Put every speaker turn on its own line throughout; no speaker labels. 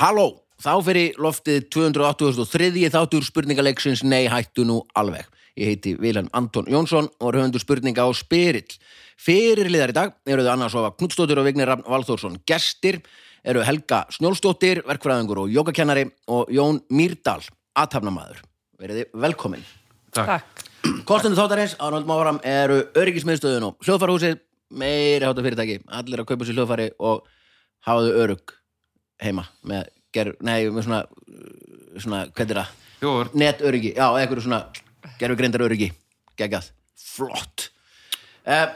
Halló, þá fyrir loftið 283. þáttur spurningaleiksins Nei hættu nú alveg. Ég heiti Viljan Anton Jónsson og er höfundur spurninga á Spyrill. Fyrirliðar í dag eru þau annars ofa Knutstóttir og Vignir Rafn Valþórsson gestir, eru Helga Snjólstóttir, verkfræðingur og jógakennari og Jón Mýrdal, aðtafnamaður. Verið þið velkomin.
Takk.
Kostendur þáttarins á náttúrulega áfram eru öryggismiðstöðun og hljóðfarhúsið, meiri hátta fyrirtæki, allir að kaupa sér hljóðfari og hafaðu örygg heima með, ger, nei, með svona, svona, hvað er það?
Jú, er-
Net öryggi, já, eitthvað svona gerfugrindar öryggi, geggjað, flott. Uh,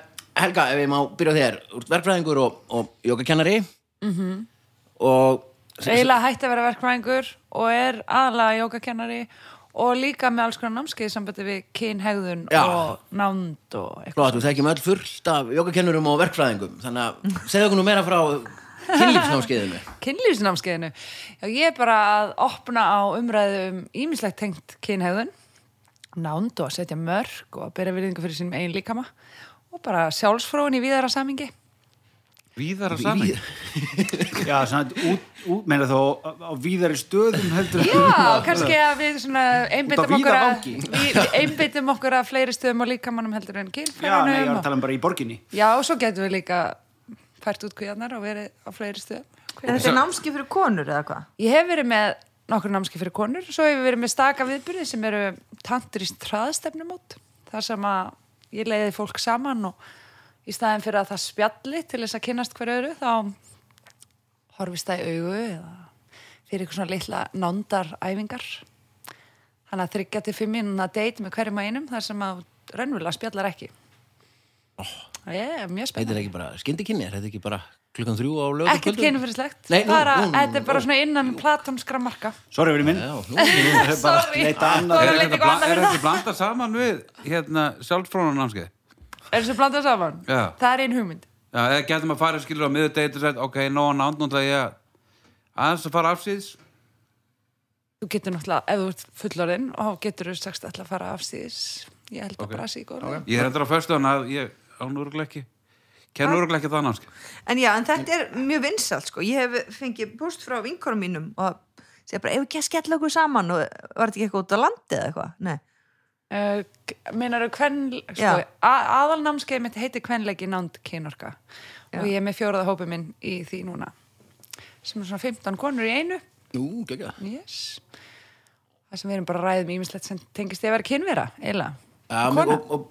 Helga, ef ég má byrja á þér, þú ert verkfræðingur og, og jógakennari og
eiginlega hætti að vera verkfræðingur og er aðalega jógakennari og líka með alls konar námskeið í sambandi við kynhegðun
Já.
og nánd og eitthvað.
flott, við þekkjum öll fullt af jógakennurum og verkfræðingum, þannig að segðu okkur nú meira frá kynlífsnámskeiðinu.
Kynlífsnámskeiðinu. Já, ég er bara að opna á umræðu um ímislegt tengt kynhegðun, nánd og að setja mörg og að bera virðingu fyrir sínum eigin líkama og bara sjálfsfróin í víðara samingi.
Víðara saman
Já, svona, út, út, meina þá á, á víðari stöðum heldur en- hérna?
Já, kannski að við svona
Út
einbyttum
á
okkur
víða
að,
vangi.
við einbyttum okkur að fleiri stöðum og líkamanum heldur en
Já, nei, ég
kynfræðunum
var
og
að tala um bara í borginni.
Já, og svo getum við líka fært út kvíðarnar og verið á fleiri stöðum. Hver-
En þetta er námskið fyrir konur eða hvað?
Ég hef verið með nokkur námski fyrir konur, svo hef ég verið með staka viðbyrði sem eru tanturist traðstefnumót, þar sem að ég leiði fólk saman og í staðin fyrir að það spjalli til þess að kynnast hverju öðru, þá horfist það í augu eða fyrir eitthvað svona litla nándaræfingar. Þannig að þryggja til fimm mínúna date með hverjum að einum þar sem að raunvöla spjallar ekki. Ég er mjög
Þetta
spennt.
er ekki bara skyndikynni, er þetta ekki bara klukkan þrjú á lögum
Ekkert kynfyrirslegt,
Nei, nú,
bara,
nú, nú,
þetta er
nú,
bara
nú.
svona innan platónskra marka.
Sorry, verið minn.
Já, nú, nú, nú.
Ég bara
sorry.
leita annað.
Sorry.
Er
Bara leita
hérna
þetta
eitthvað
bla-
annað
er
fyrir
þetta blandað saman við hérna sjálfsfrónan námskeið?
Er þessu blandað saman?
Já.
Það er einn hugmynd.
Já, eða getum að fara skilur á miðurdeit og sagt, ok, nóg að nánd, nú ætla ég að aðeins að fara afsýðis
Þú getur náttúrulega, ef þú ert fullorinn og getur þú sagst alltaf að fara afsýðis. Ég held að bara sé í góðlega.
Ég er endur á föstuðan að ég án úruglega ekki kenn úruglega ekki það námskeið
En já, en þetta er mjög vinsalt sko. Ég hef fengið post frá vinkorum mínum og segja bara, ef ekki að skella okkur saman og var þetta ekki eitthvað út á landi eða eitthvað? Nei.
Okay. Uh, Meinaru hvern, sko,
Já.
aðalnámskeið mitt heiti hvernleiki nánd kynorka og ég er með fjóraða hópi minn í því núna sem er svona 15 konur í einu
Nú, gegja
yes. það sem við erum bara að ræðum ímislegt sem tengist ég að vera kynvera eiginlega.
um, og, og, og,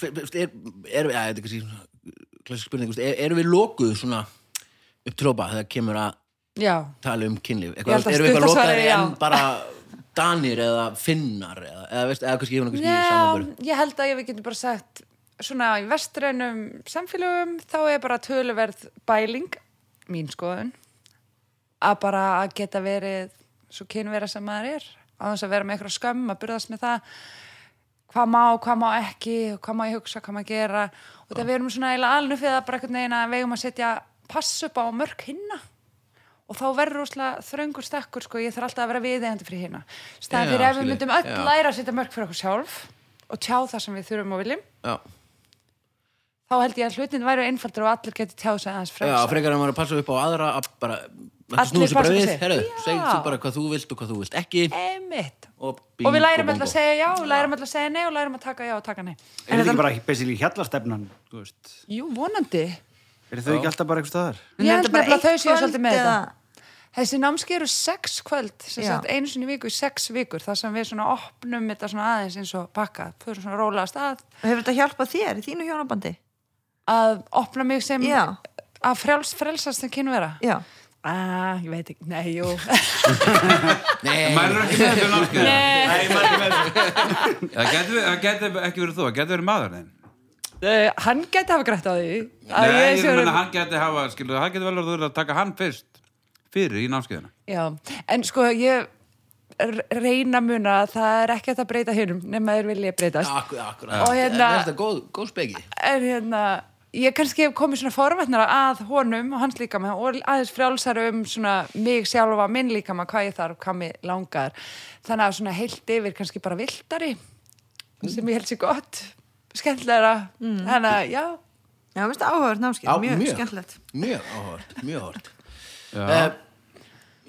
fe- fe- er, er, ja, þetta er kannski svona klassisk spurning, veist, er, erum við lokuð svona upp til hópa þegar kemur að
Já,
tala um kynlíf
Ég held að
erum við eitthvað
stutta svarið
lokaðri
er já.
en bara danir eða finnar eða, eða, veist, eða kannski, kannski
Já,
samanbörð
ég held að ég við getum bara sagt svona í vestrænum samfélögum þá er bara töluverð bæling mín skoðun að bara að geta verið svo kynvera sem maður er á þess að vera með eitthvað skömm að burðast með það hvað má, hvað má ekki hvað má ég hugsa, hvað má ég gera og það við erum svona eiginlega alnufið að bara einhvern veginn að við eigum að setja pass upp á mörg hinna og þá verður rosalega þröngur stakkur sko, ég þarf alltaf að vera viðeigandi fyrir hinna staðan
Já,
fyrir ef við
skilji.
myndum öll
Já.
læra að setja mörg fyrir okkur sjálf og tjá það sem við þurfum og viljum
Já,
þá held ég að hlutin væri einfaldur og allir geti tjáð sig aðeins
já
frelsa
frekar að maður að passa upp á aðra að bara,
Allir
snúðu sér bara
passa upp á
við
sig.
herðu,
Já.
segðu þú bara hvað þú vilt og hvað þú vilt ekki
einmitt
og,
og við lærum
bingo,
alltaf að
bongo.
segja já, við lærum alltaf að segja nei og lærum að taka já og taka nei
Er þetta ekki bara basically hjallastefnan, þú veist?
jú, vonandi
Er þau ekki alltaf bara eitthvað staðar?
Ég held nefnilega að þau séu
kvöld
svolítið með
eða-
þessi námski eru sex kvöld sem
Já.
sagt einu sinni í viku í sex vikur þar sem við svona opnum þetta svona aðeins eins og pakka, þau eru svona rólega af stað
Og hefur þetta hjálpað þér í þínu hjónabandi?
að opna mig sem
Já.
að frelst frelsast sem kynvera
Já.
Ah, ég veit ekki, nei, jú
Mælur ekki með þetta námskeið
Nei, maður ekki með þessu.
Það getur við- það getur ekki verið þú, það getur verið maður þinn
Eh, Hann gæti hafa grætt á því að
Nei, ég
sé
meina
orðin-
hann getur hafa, skilur, hann getur vel að þú verið að taka hann fyrst fyrir í námskeiðina
Já, en sko ég r- reyna að muna að það er ekki hægt að breyta hinum nema þeir vilja breytast
Akkur, akkur,
Og hérna-
þetta er góð, góð speki
en hérna, ég kannski hef komið svona forvætnara að honum og hans líka með og aðeins frjálsar um svona mig sjálfa, minn líka með hvað ég þarf, hvað mig langar þannig að svona heilt yfir kannski bara viltari
Mm.
sem ég held sér gott skemmtilegra, þannig að já
Já, mér finnst þetta áhugavert námskið,
Já,
mjög, skemmtilegt.
Mjög áhört, mjög áhört
Já.
uh, Eh,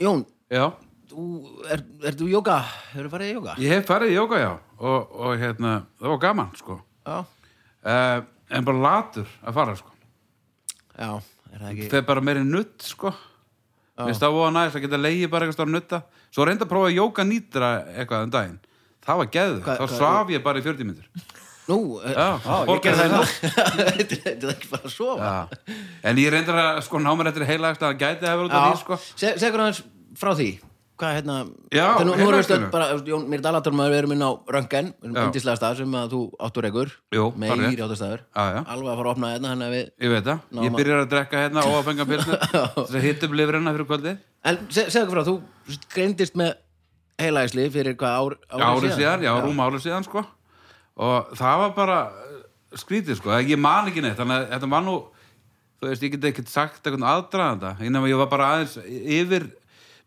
Jón,
já,
Þú, er, ertu í jóka? Hefur farið í jóka?
ég hef farið í jóka, já og, og hérna, það var gaman, sko
Já,
uh, en bara latur að fara, sko
já, er það ekki?
þegar bara meiri nutt, sko Mér finnst það voða næst að geta leiði bara eitthvað stáð nutta svo reynda að prófa að jóka nýtra eitthvað um daginn, það var geðu
Hvað-
þá
hvað-
svaf ég bara í 40 myndir
Nú, er,
já,
ég gerði það í nótt.
þetta er ekki bara að sofa.
Já. En ég reyndar að sko ná mér eftir heilagt að það gæti að vera út af því sko.
Se- Segðu hans frá því Hvað hérna
Já,
Þegar nú, nú erum við
heilaæxlinu.
stönd bara Jón, Mér dalatum að við erum inn á Röngen
Já.
Yndislega stað sem að þú áttur ekkur
Jú,
Meir
hárrétt.
áttastaður
Já, já.
Alveg að fara að opna hérna þannig að við
Ég veit það,
Ná,
ég
ma-
byrjar að drekka hérna og að fenga pilsnir þess að hitta upp lifrina fyrir kvöldi
En se, segðu frá, þú greindist með heilægisli fyrir hvað ár,
árið síðan, já, rúm árið síðan sko. og það var bara eh, skrítið, sko, ég man ekki neitt þannig að þetta var nú þú veist, ég get ekki sagt eitthvað aðdraðanda innum að ég var bara aðeins yfir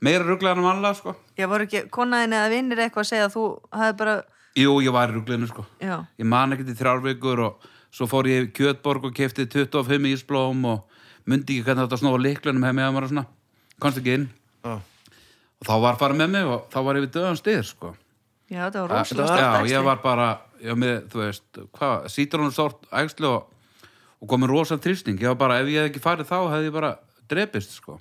meira rugglega en vanlega, sko
Ég voru ekki konaðin eða vinnir eitthvað að segja að þú hafði bara,
Jú, ég var í ruggleginu, sko
já,
ég man ekkert í þrjár vikur og svo fór ég í Kjötborg og kefti 25 ísblóm og myndi ekki hvernig þetta snóða líklanum hef mig að maður og svona, komst ekki inn
Já.
og þá var farið með mig og þá var ég við döðan styr sko.
já, það var
já,
rosalega stort
ég var bara já, með, þú veist, hvað, sítrónu sort ægslu og, og komið rosa þrýsting ég var bara, ef ég hef ekki farið þá hefði ég bara drepist, sko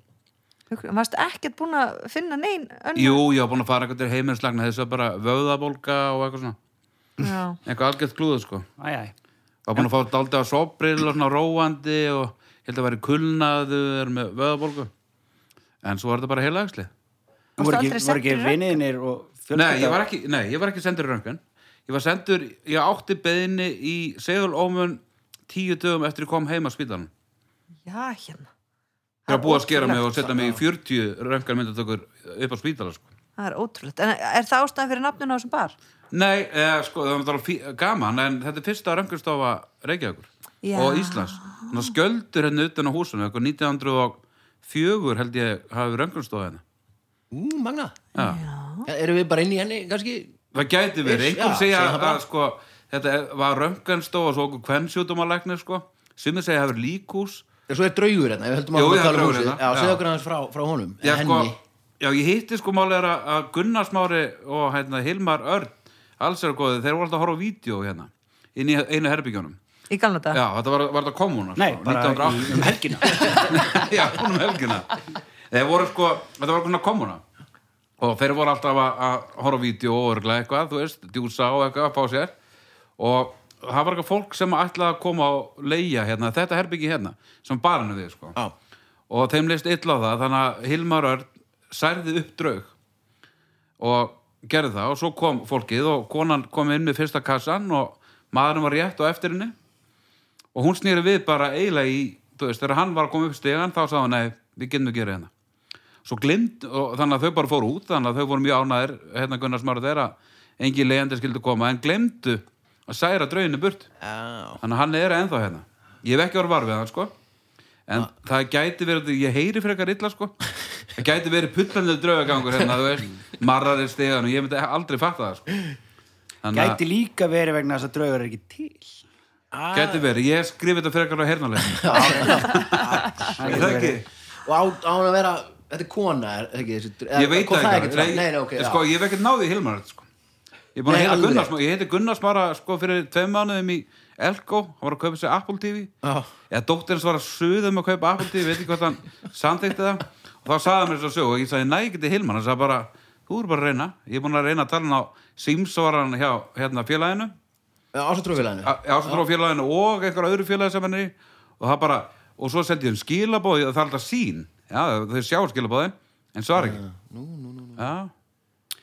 Akkur- Varst ekkert búin að finna neinn önnur?
Jú, ég var búin að fara eitthvað til heimilislegna þess að bara vöðabólga og eitthvað svona
Já,
eitthvað algjört glúðu, sko
Æ, æ.
var búin að fá daldið að sobril og svona róandi og ég held að væri kulnaður með vöðabólgu en svo var þetta bara heilagsli
Varstu
Voru
aldrei
ekki, voru ekki
sendur í
vinninir og
nei ég, var ekki, nei, ég var ekki sendur í röngan ég var sendur, ég átti beðinni í segulómun tíu dögum eftir ég kom heim á spítanum
já, hérna
ég var búið að skera mig
Ótrúlegt.
og setja mig í 40 röngan myndatökur upp á spítala sko.
Það er ótrúlegt, en er það ástæðan fyrir nafninu á þessum bar?
nei, eh, sko, það var náttúrulega fí- gaman en þetta er fyrsta rönganstofa Reykjavíkur
Já.
og Íslands Ná, skjöldur hérna utan á húsinu eitthvað 1904 held ég hafi rönganstofa hérna
Ú, magna
Já.
Erum við bara inn í henni, kannski
Það gæti verið,
Ish,
einhver
já, segja
segja
það
að,
bara.
að sko, þetta er- var röntgenstofa og svo okkur kvennsjútumalæknir sko, sem segja hefur líkús
En svo er draugur hérna, við höldum
Jú,
áfram að
já,
tala um
draugur
húsið
hérna,
Já,
já.
segðu okkur hans frá, frá honum
já, sko,
Henni,
já, ég hitti sko málið er að- að Gunnar Smári og hérna, Hilmar Örn alls er góðið, þeir voru alltaf að horfa á vídeo hérna, inn í einu herbyggjónum
Í galna dag?
Já, þetta var, var þetta kommuna
Nei,
sko,
bara
1908.
í, um helgina.
já, hún um helgina þeir voru sko, þetta var svona kommuna og þeir voru alltaf að, að horfa á vídeo og örgla eitthvað, þú veist, djúsa og eitthvað að fá sér og það var eitthvað fólk sem ætlaði að koma og leigja hérna, þetta herbyggi hérna, sem barinu þig sko.
Já.
og þeim leist illa á það þannig að Hilmar Örn særði upp draug og gerði það og svo kom fólkið og konan kom inn með fyrsta kassan og maðurinn var rétt á eftir henni og hún snýri við bara eiginlega í, þú veist, þegar hann var að koma upp stegan þá sagði hann, nei, við getum að gera hérna svo glimt, og þannig að þau bara fóru út þannig að þau voru mjög ánæðir, hérna Gunnar Smára þeirra, engin leiðandi skildi koma en glimtu að særa drauginu burt
já,
þannig að hann er ennþá hérna ég hef ekki orðið var við hann sko en
Ah.
það gæti verið, ég heyri frekar illa sko það gæti verið pullanlega draugagangur hérna, þú veist, marrar er stegan og ég myndi aldrei fatta það sko þannig
Gæti líka verið vegna þess að draugur er ekki til.
að gæti verið, ég skrif þetta frekar á hernaleginu
Ah.
Það
er
getur
það
verið.
ekki?
Og á, á hann að vera, þetta er kona, er það ekki þessi eða-
ég veit
kom
það ekki,
ekkert fram? Nei, nei, ok, já.
sko, ég hef ekki náði Hilmar sko. ég er búin að
Nei,
heita
alveg.
Gunnars ég heiti Gunnars bara sko, fyrir tveim mánuðum í Elko, hann var að kaupa sér Apple TV
Já.
eða dóttir hans var að suða um að kaupa Apple TV, veit ekki hvað hann samþykti það og þá sagði hann mér þess að sögu og ég sagði, næ, ég geti Hilmar, hann sagði bara þú eru bara að reyna, ég er búin að reyna að tala um hann á símsvaran hjá hérna, félaginu
Ásatrúfélaginu
Ah. ásatrúfélaginu og einhverja öðru félagi sem henni og það bara, og svo sendi ég um skilabóði það er alltaf sín, já, þau sjá skilabóðin en svara ekki nú, nú, nú, nú. já,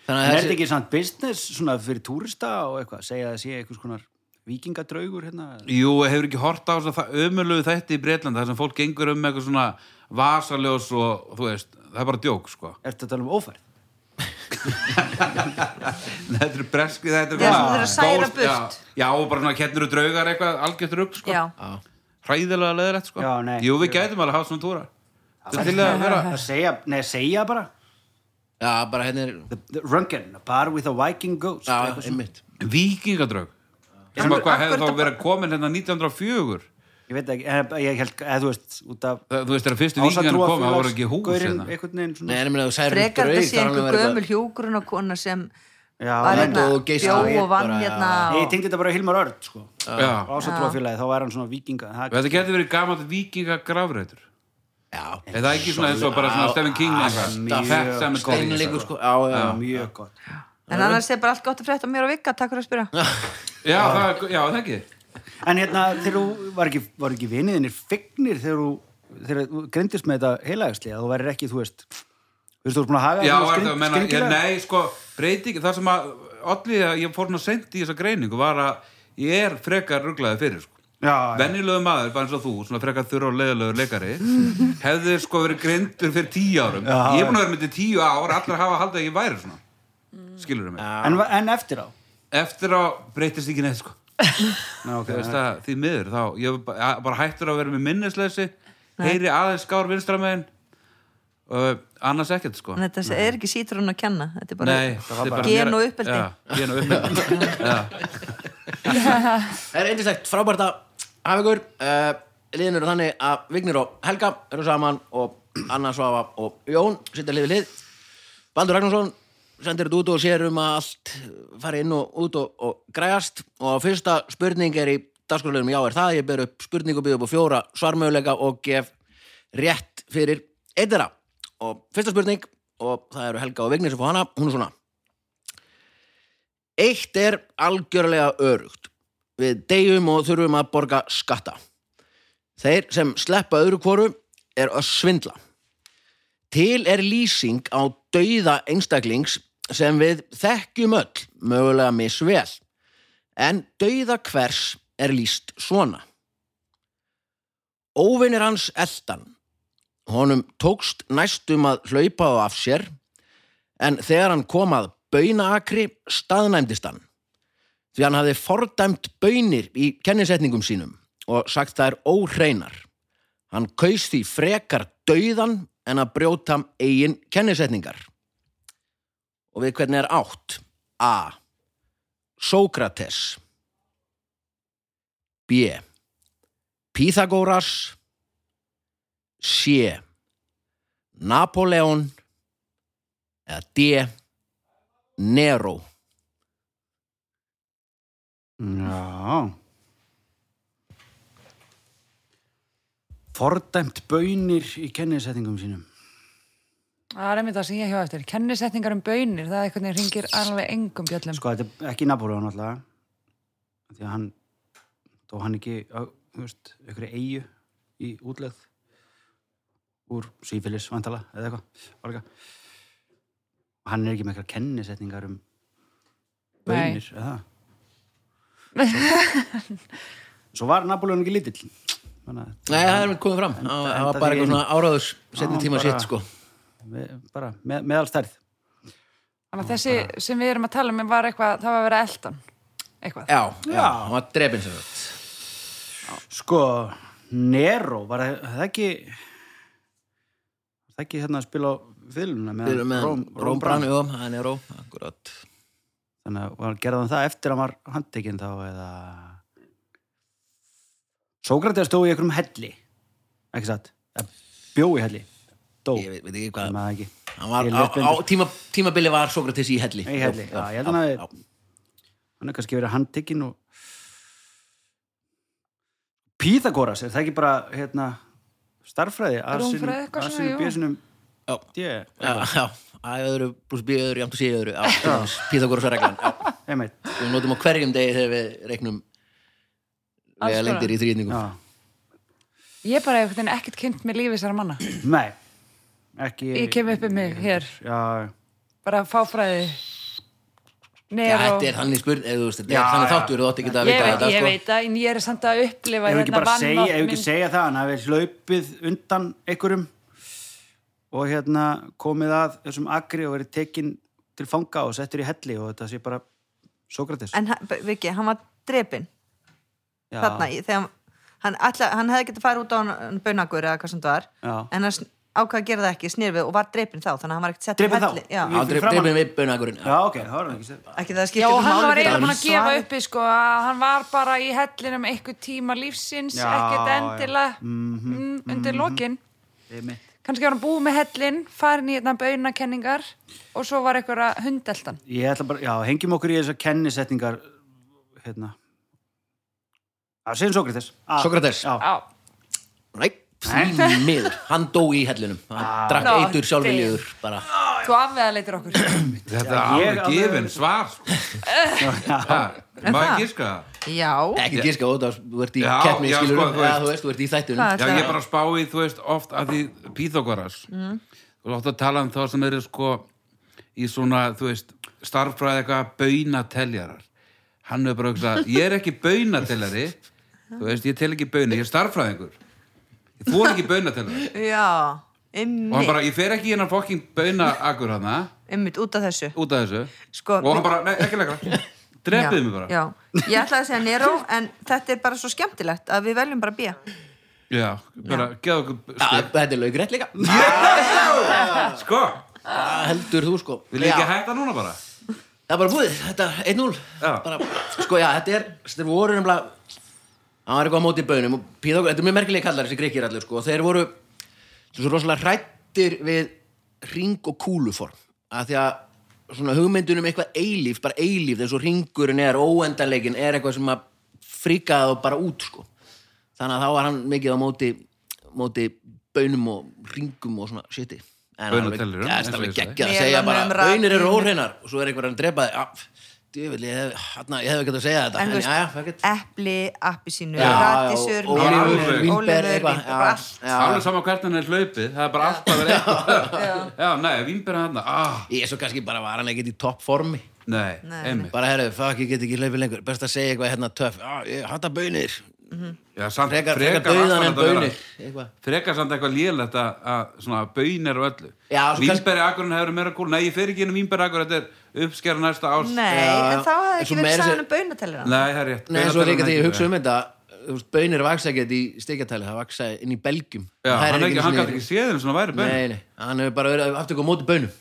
Þannig
En
að
er þetta
þessi
ekki samt business svona fyrir túrista og eitthvað, segja að það sé eitthvað skonar vikingadraugur hérna?
Jú, hefur ekki hort á þess að ömulegu þetta í Breitlanda þar sem fólk gengur um með eitthvað svona vasaljós og þú veist, það er bara djók sko.
Ertu að tala um ófærð?
Nei, Þetta er breski, þetta er
Já,
svona-
sem þeir eru að særa
Ghost-
burt.
Já, já, og bara svona kettir og draugar eitthvað, algjört rugg sko.
Já,
Hræðilega leðilegt sko.
Já, nei.
Jú, við gætum alveg að hafa svona túra Þetta er til að vera
Að segja, nei, segja bara
Já, bara hérna er
the, the Runken, a bar with a viking ghost
Já,
eitthvað svona.
einmitt
vikingadraug sem að hvað hefði þá verið komin hérna 1904
ég veit ekki, eh, ég held, eða þú veist út af
Það- Þú veist, þegar fyrstu vikingarnir komið, það voru ekki hús
gaurinn
hérna.
einhvern veginn
Nei,
svona
en ég meina þú særir
frekar
draug,
þetta
það
sé
er alveg
einhver
verið
gömul hjúgrunarkona sem
Já,
var
hérna
hérna,
og
bjó
geislaði
og vann
bara, já.
hérna
ég
og...
tengdi þetta bara á Hilmar Örd sko.
Já,
ásatrúafélagi, þá var hann svona vikinga það,
þetta getur verið gamalt vikingagrafrætur.
Já,
Er það ekki svona eins og bara svona Stephen King eitthvað?
mjög
Fett sem er
steinleikur sko Já, já,
er mjög gott
en annars er bara allt gott að frétta af mér og Vigga, takk fyrir að spyrja
Já, það er- já, það ekki.
en hérna, þegar þú var ekki, var ekki viniðinir fignir þegar þú þegar þú greindist með þetta heilagsli að þú værir ekki, þú veist þú veist, þú veist búin að hafa
Já,
svona
er
skrýn-
það, menna, ég,
skringilega-
nei, sko, breyting, það sem að, allir að ég fór svona sent í þessa greiningu var að ég er frekar rugglaði fyrir, sko.
Já, já.
Venjulegu maður, bara eins og þú, svona frekar þurra og leiðilegu leikari, hefði sko verið greindur fyrir tíu árum.
Já,
ég er búin að vera með til tíu ár, allir hafa haldið að ég væri svona. Skilur mig.
en, en eftir á
Eftir að breytist ekki neitt, sko.
Ná,
Þú veist að því miður, þá, ég var bara bara hættur að vera með minnisleysi, heyri aðeins skár vinstramegin, uh, annars ekkert, sko.
en þetta er ekki sítrun að kenna þetta er bara
Nei, það
bara- Gen og uppeldi.
Já, gen og uppeldi
Það er eindislegt frábært að hafa ykkur uh, liðin eru þannig að Vignir og Helga eru saman og Anna Svafa og Jón sitja hlið við hlið Baldur Ragnarsson sendir þetta út og sér um að allt fari inn og út og, og græjast og fyrsta spurning er í dagskurlegum já er það, ég ber upp spurningu býð upp á fjóra svarmöguleika og gef rétt fyrir einn þeirra og fyrsta spurning og það eru Helga og Vignir sem fá hana, hún er svona Eitt er algjörlega örugt. Við deyjum og þurfum að borga skatta. Þeir sem sleppa öðru hvoru er að svindla. Til er lýsing á dauða einstaklings sem við þekkjum öll, mögulega misvel. En dauða hvers er lýst svona. Óvinir hans eldan. Honum tókst næstum að hlaupa á af sér en þegar hann kom að baunaakri staðnæmdist hann því hann hafði fordæmt baunir í kennisetningum sínum og sagt þær óhreinar. Hann kaus því frekar dauðan en að brjóta eigin kennisetningar. Og við hvernig er átt? A. Sókrates B. Pythagoras C. Napoleon eða D Nero
Já Fordæmt baunir í kennisetningum sínum
Það er einmitt það sem ég hjá eftir. Kennisetningar um bönir, það er einhvern veginn ringir alveg engum bjöllum.
Sko, þetta er ekki Napoleon alltaf Því að hann Þó hann ekki, á, þú veist, einhverju eigu í útlegð Úr sífélis, vantala, eða eitthvað Varga Og hann er ekki með eitthvað kennisetningar um
Nei.
baunir, eða Svo, svo var Napoleon ekki lítill Þannig að
Nei, það er mér komið fram Það það var
enda
bara
því
eitthvað svona áraðus setni
Já,
tíma
bara-
sitt sko
með, bara með, meðalstærð
Þannig að þessi sem við erum að tala um var eitthvað, það var að vera eldan. Eitthvað.
Já, já, hann var drepin sem þetta
sko, Nero var það- það ekki það ekki hérna að spila á fylguna
Við erum
með
með Róm Brann, jú, það er Nero Akkurat
þannig að var- gerði hann það eftir að hann var handtekinn þá eða Sókrates stóð í einhverjum helli ekki satt, Eða bjó í helli dó,
Ég veit, veit ekki hvað
maður ekki
Hann var,
Ég
á,
lesblindur.
á tíma, tímabili var Sókrates í helli
Í helli, já, ég held hann hafi- hann er kannski verið handtekinn og Píþagoras, er það ekki bara hérna, starffræði
Rúmfræði, eitthvað svona, jú.
bjöðsinum
Já.
yeah.
Já, já, að öðru pluss B öðru, jamt og C öðru Já, Píþagoras reglan Já,
einmitt
við notum á hverjum degi þegar við reiknum
Alls
vega lengdir í þrýðningum
Já.
Ég bara hef einhvern veginn ekkert kynnt með lífi þessara manna.
Nei, ekki
Ég kem upp um mig hér,
Já,
bara fáfræði.
Já,
Nero.
þetta er þannig spurn, eða þú veist, þetta
Já,
er þannig
já.
þáttur, þú átt ekki að vita
Ég veit,
þetta,
ég
sko.
veit það, en ég er samt að upplifa
ef ekki bara segja, ef
vanmátt
ekki
hérna minn.
segja það hann hafi hlaupið undan einhverjum og hérna komið að þessum agri og verið tekinn til fanga og settur í helli og þetta sé bara Sókrates
en hann- Viggi, hann var drepin
Já,
þarna, í- þegar hann, hann, ætla, hann hefði getið að fara út á hann baunakur eða hvað sem það var
Já.
en hann sn- ákvað að gera það ekki, snýr við og var dreipin þá, þannig að hann var ekkert sett
Drepinn þá?
helli- Já,
Í-
Hann dreif-
framan-
dreif með vippun akkurinn.
Já, ok, það var hann ekki sér.
ekki það
Já,
skiptir
og hann var
fyrir
eiginlega búin
hann.
að gefa
Svarið-
uppi sko að hann var bara í hellinum einhver tíma lífsins,
Já,
ekkert
já.
endilega
Mhm,
mm, undir mm lokin.
Það er mitt.
Kannski var hann búið með hellin, farin í hérna baunakenningar og svo var einhverja hundeltan.
Ég ætla bara, já, hengjum okkur í þessar kennisetningar, hérna. Já, segjum Sókrates. Ah,
Sókrates.
Já,
Já,
Nei, því miður. Hann dó í hellinum. Hann
Ah.
drakk
Ná,
eitur sjálfviljugur bara.
þú afveða leitir okkur.
Þetta er
ég
alveg
alveg-
gefin svar sko. Það, Má
það?
ég giska það?
Já,
Ekki gíska út að þú ert í
Já,
keppni,
já,
skilur.
sko, þú
Já,
veist.
þú veist, þú ert í
Hvað
þættunum.
er-
Já, ég er bara að spá í, þú veist, oft að því Píþókoras mm. og oft að tala um þá sem eru sko í svona, þú veist, starffræði eitthvað baunateljarar hann er bara að hugsa, ég er ekki baunateljari þú veist, ég tel ekki bauna ég er starffræðingur ég þú er ekki baunateljari
já,
og hann
ymmið,
bara, ég fer ekki í hennan fokking baunaakur hana,
ymmið, út af þessu
út af þessu
Sko,
og hann bara, nei, ekki leikra
Já,
drepið mig bara
já. ég ætlaði að segja Nero en þetta er bara svo skemmtilegt að við veljum bara B
já bara, geða okkur
Já,
stið
Þetta er laugrætt líka.
sko,
Það heldur þú sko.
vil ég ekki
Já.
hætta núna bara
Það er bara búið, þetta er 1-0
Já.
Bara- Sko já, þetta er, þetta voru nefnilega Það var eitthvað á móti í bönum og Píþagóras, þetta er mjög merkilega kallar þessi greikir allir sko og þeir voru svo rosalega hrættir við ring og kúluform að því að svona hugmyndunum eitthvað eilíf, bara eilíf eins og ringurinn er, óendanleikin er eitthvað sem að fríkaði þá bara út sko þannig að þá var hann mikið á móti móti bönum og ringum og svona shiti
Baunateljurum,
Bönateljurum,
eins og ég sagði.
ekki að
Meðan
segja
við
bara
höfum rætt
bönir eru
um-
óreinar og svo er einhver að drepa þig ah, djöfull, ég hef, hana, ég hef ekki að segja þetta
en
en,
þú veist,
jæja, fuck it.
epli, appisínu,
Já,
ratisur
og-
olívur,
melónur,
vínber,
ólívur,
eitthvað,
vínber,
já.
bara allt.
Já.
alveg sama hvernig hann er hlaupið það er bara alltaf verið eitthvað já, nei, vínberið hann ah,
ég er svo kannski bara var hann ekkert í topp formi
nei,
Nei,
einmitt
bara herru, fuck, ég get ekki hlaupið lengur best að segja eitthvað hérna töff ah, ég hata bönir,
já, samt,
frekar, frekar dauðan en bönir eitthvað
frekar samt eitthvað lélegt að, að svona bönir og öllu
Já, svo kannski-
vínberið akkurinn hefur meira kúl nei, ég fer ekki inn um vínberið akkur þetta er uppskjara næsta ás
nei,
Já,
en þá
en
hefði
svo
ekki verið
meira sem-
sagðan um baunatellina
nei, það er rétt
Nei, en svo er líka
Baunateljaran
þegar ég
ekki
hugsa
verið.
um þetta þú veist, bönir vaksa ekkert í stikjartæli það vaksa inn í Belgjum
já,
Þær eru
hann, ekki,
einu
hann
sinni-
gæti ekki séð þeim svona væri bönir
Nei, nei, hann hefur bara verið aftur eitthvað á móti bönum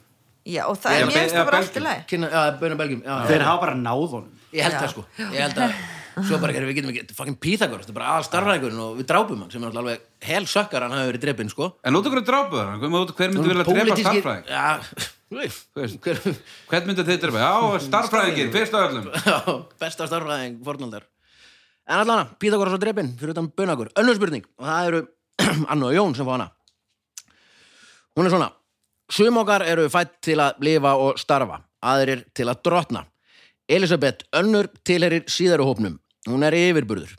já, og það
Eða
er
be-
mér
eða
það bara allt
belgjum.
í lagi
Kynna, já, bönum Belgjum já,
Þeir hafa bara náð honum.
Ég held það sko, ég held að Svo bara, heyrðu, við getum ekki, fucking Pythagoras Þetta er bara aðal starfræðingurinn og við drápum hann sem er náttúrulega alveg hel sökkar hann hafi verið drepinn sko
en út okkur að drápa það, hver myndi vilja drepa starfræðing
starfræðing
veist. hvern myndi þeir drepa, já, starfræðingin fyrst af öllum
Besta starfræðing, fornaldar En allan, Pythagoras og drepinn fyrir utan bönakur Önnur spurning, og það eru Anna og Jón sem fá hana Hún er svona Sum okkar eru fætt til að lifa og starfa aðrir til að drotna Elisabeth önnur tilherir síðari hópnum Hún er yfirburður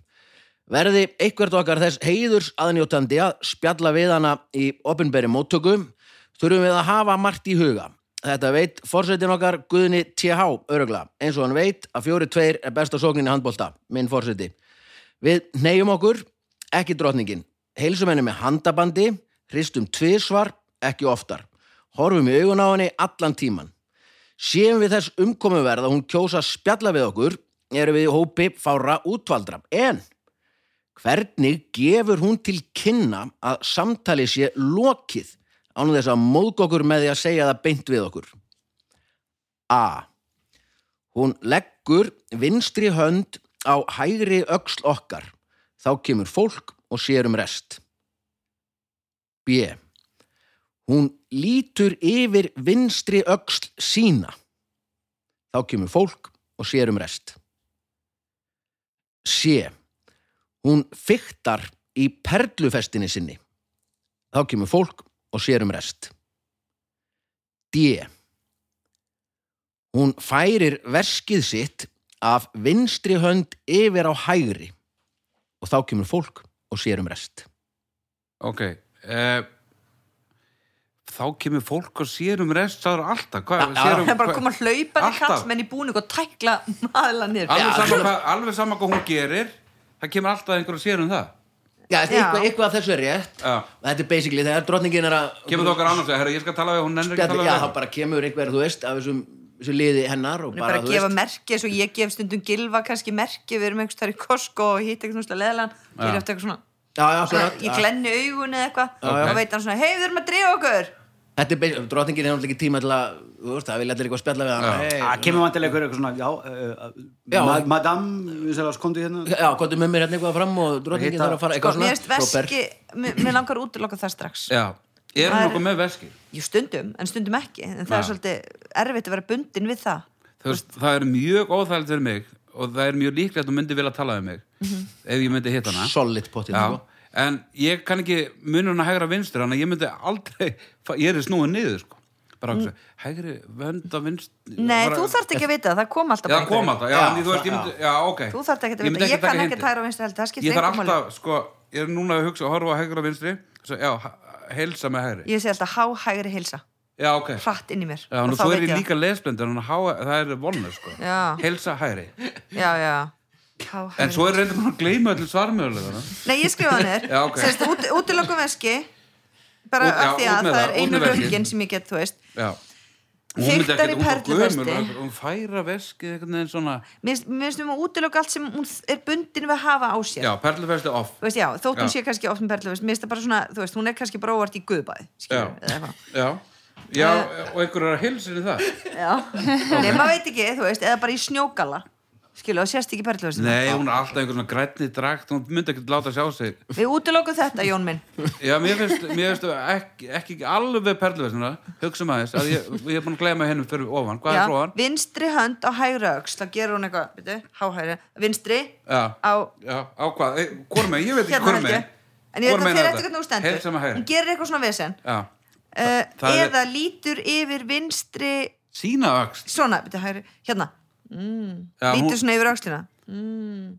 Verði einhvert okkar þess heiðurs aðnjótandi að spjalla við hana í opinberi móttöku, þurfum við að hafa margt í huga. Þetta veit forsetin okkar Guðni TH örugla, eins og hann veit að fjóri tveir er besta sóknin í handbolta, minn forseti. Við neyjum okkur, ekki drotningin. Heilsum henni með handabandi, hristum tvisvar, ekki oftar. Horfum í augun á henni allan tíman. Séum við þess umkomuverð að hún kjósa að spjalla við okkur, erum við í hópi fára útvaldra. En Hvernig gefur hún til kynna að samtali sé lokið án þess að móðg okkur með því að segja það beint við okkur? A. Hún leggur vinstri hönd á hægri öxl okkar. Þá kemur fólk og sér um rest. B. Hún lítur yfir vinstri öxl sína. Þá kemur fólk og sér um rest. C. Hún fyktar í perlufestinni sinni. Þá kemur fólk og sér um rest. D. Hún færir veskið sitt af vinstri hönd yfir á hægri og þá kemur fólk og sér um rest.
Ok uh, Þá kemur fólk og sér um rest það er alltaf hvað,
Já,
sér um,
það er bara að
hvað-
koma hlaupandi
Alltaf.
kallmenn í búning og tækla maðurlega niður
alveg,
Já,
sama
svona-
hvað, alveg sama hvað hún gerir það kemur alltaf einhver að sér um það
Já, þetta er
Já.
eitthvað, eitthvað af þessu er rétt.
Já.
Þetta er basically þegar drottningin er að...
kemur það okkar annars að herra ég skal tala við hún nennir ekki að
Spjalla-
tala
um
Já,
við
þá
þig.
bara kemur einhver, þú veist, af þessum, þessum liði hennar og
hérna? Hún er bara
bara,
að
þú
gefa
veist...
merki eins og ég gef stundum gilva kannski merki, við erum einhvers þar í Costco og hitt eitthvað svona leðlan og ég er eftir eitthvað svona
já, já,
Svona,
akkurat.
ég glenni augun eða eitthvað
já.
og veit hann svona, hei við erum að drífa okkur
Þetta er beins, drotningin er náttúrulega ekki tíma til að, þú veist, það vilja allir eitthvað spjalla við hann.
Já.
Hey,
Það Ah, kemur vantilega ykkur eitthvað svona, já, uh,
Já.
ma madame, við sér að skondu hérna.
Já, komdu með mér hérna eitthvað fram og drotningin
Hitta-
þarf að fara
sko,
eitthvað
mér
svona.
veist
Svo ber-
veski, mér mér langar út að loka það strax
Já, er
Það
hann
er-
okkur með veski?
jú stundum, en stundum ekki en
Já.
það er svolítið erfitt að vera bundin við það
Þú veist, það er mjög óþægilegt fyrir mig og það er mjög líklegt að hún myndi vilja tala við mig ef ég myndi hitta hana
Solid sko. potið,
Já, sko. en ég kann ekki munur hana hægra vinstur, þannig að ég myndi aldrei fa- ég er snúið niður, sko bara mm. hægri vönda vinst
nei, þú þarft ekki að vita það, það kom alltaf
Já,
bara
kom
einhverjir.
alltaf, já,
Já,
en þú veist, ég myndi, já, ok
þú þarft ekki að
myndi
vita, ég
taka
kann ekki
hindi.
að tæra á vinstri held það
Ég
skiptir
þarf
engum máli
alltaf, sko, ég er núna að hugsa að horfa á hægra vinstri, svo, já, h- heilsa með hægri
ég sé alltaf háhægri hilsa,
Já, ok Já,
hratt inn í mér
nú
og þá
svo er
veit
ég
ég
líka lesblendur, en há- það er vonlega, sko
Já.
Heilsa hægri
það. já, já,
En
háhægri
svo er reynda búin að gleyma öllum svarmjöðulega
nei, ég skrifaði hann
Já,
er
ok.
sérst, út, útilokum veski bara
Út- já,
af því
út
að
með
það
það,
er
út
einu
með veskið.
röngin sem ég get, þú veist
Já Hún myndi
Fiktar
ekkert-
í
hún var
perluvesti.
gömul, Hún færa veskið einhvern veginn svona
Mér finnst- mér finnst um að útiloka allt sem hún er bundin við að hafa á sér
Já, perlufesti off
Þú veist, já, þótt hún
Já.
sé kannski oft með perlu mér finnst það bara svona, þú veist, hún er kannski bara óvart í guðbæði
Já,
skilur, eða eitthvað
já Já,
Eh.
og einhverju er að heilsa henni það
já, nei, maður veit ekki, þú veist, eða bara í snjókala skilur, og sérst ekki perlu
Nei, hún er alltaf einhvern svona grænni drakt Hún myndi ekkert láta sjá sig
við útilokum þetta, Jón minn
Já, mér finnst, mér finnst ekki, ekki alveg perluvestina Hugsa maður þess að ég, ég er búin að gleyma hennum fyrir ofan Hvað
já,
er fróðan?
vinstri hönd á hægra öxl þá gerur hún eitthvað, veitu, háhæri vinstri
Já,
á
já, á hvað? E, Hvormi, ég veit ekki
hérna
hvormi
hægri en ég veit að fyrir eftir hvernig hún stendur
Heilsa með
hún
hægri
gerir eitthvað svona vesen
Já,
uh,
það er-
eða lítur yfir vinstri
sína öxt
svona, veitu, hægri, hérna
Já, hún-
lítur svona yfir öxlina
Hún
Mm.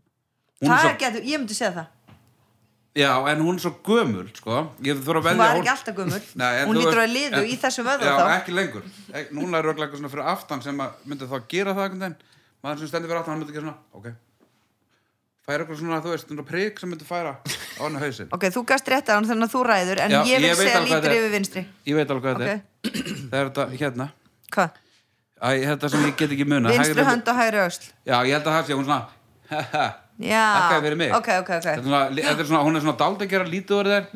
er
það
svo-
er getur, ég myndi segja það
Já, en hún er svo gömul, sko Ég þurf að
hún
velja
var ekki alltaf gömur
Nei, en
hún
þú
lítur
veist-
að liðu
en-
í þessum
Já,
vöðum þá
ekki lengur Ek, Núna er röglega eitthvað svona fyrir aftan sem að myndi þá gera það einhvern veginn maður sem stendur fyrir aftan, hann myndi ekki svona ok, færa eitthvað svona, þú veist, svona prik sem myndi færa á hann hausinn
ok, þú gast rétt á hann þannig að þú ræður en
Já,
ég vil
ég veit
segja
alveg
lítur
þetta er.
yfir vinstri
Ég veit alveg hvað
ok,
þetta er Það er þetta, hérna
hvað?
Æ, þetta sem ég get ekki muna
vinstri hönd og hægri öxl
Já, ég held að það sé hún svona Haha,
já,
þakkaði fyrir mig
Ah,
Hérna. Þetta er svona,
ok, ok, Mhm. ok
þetta er svona, hún er svona dáld að gera lítið úr þér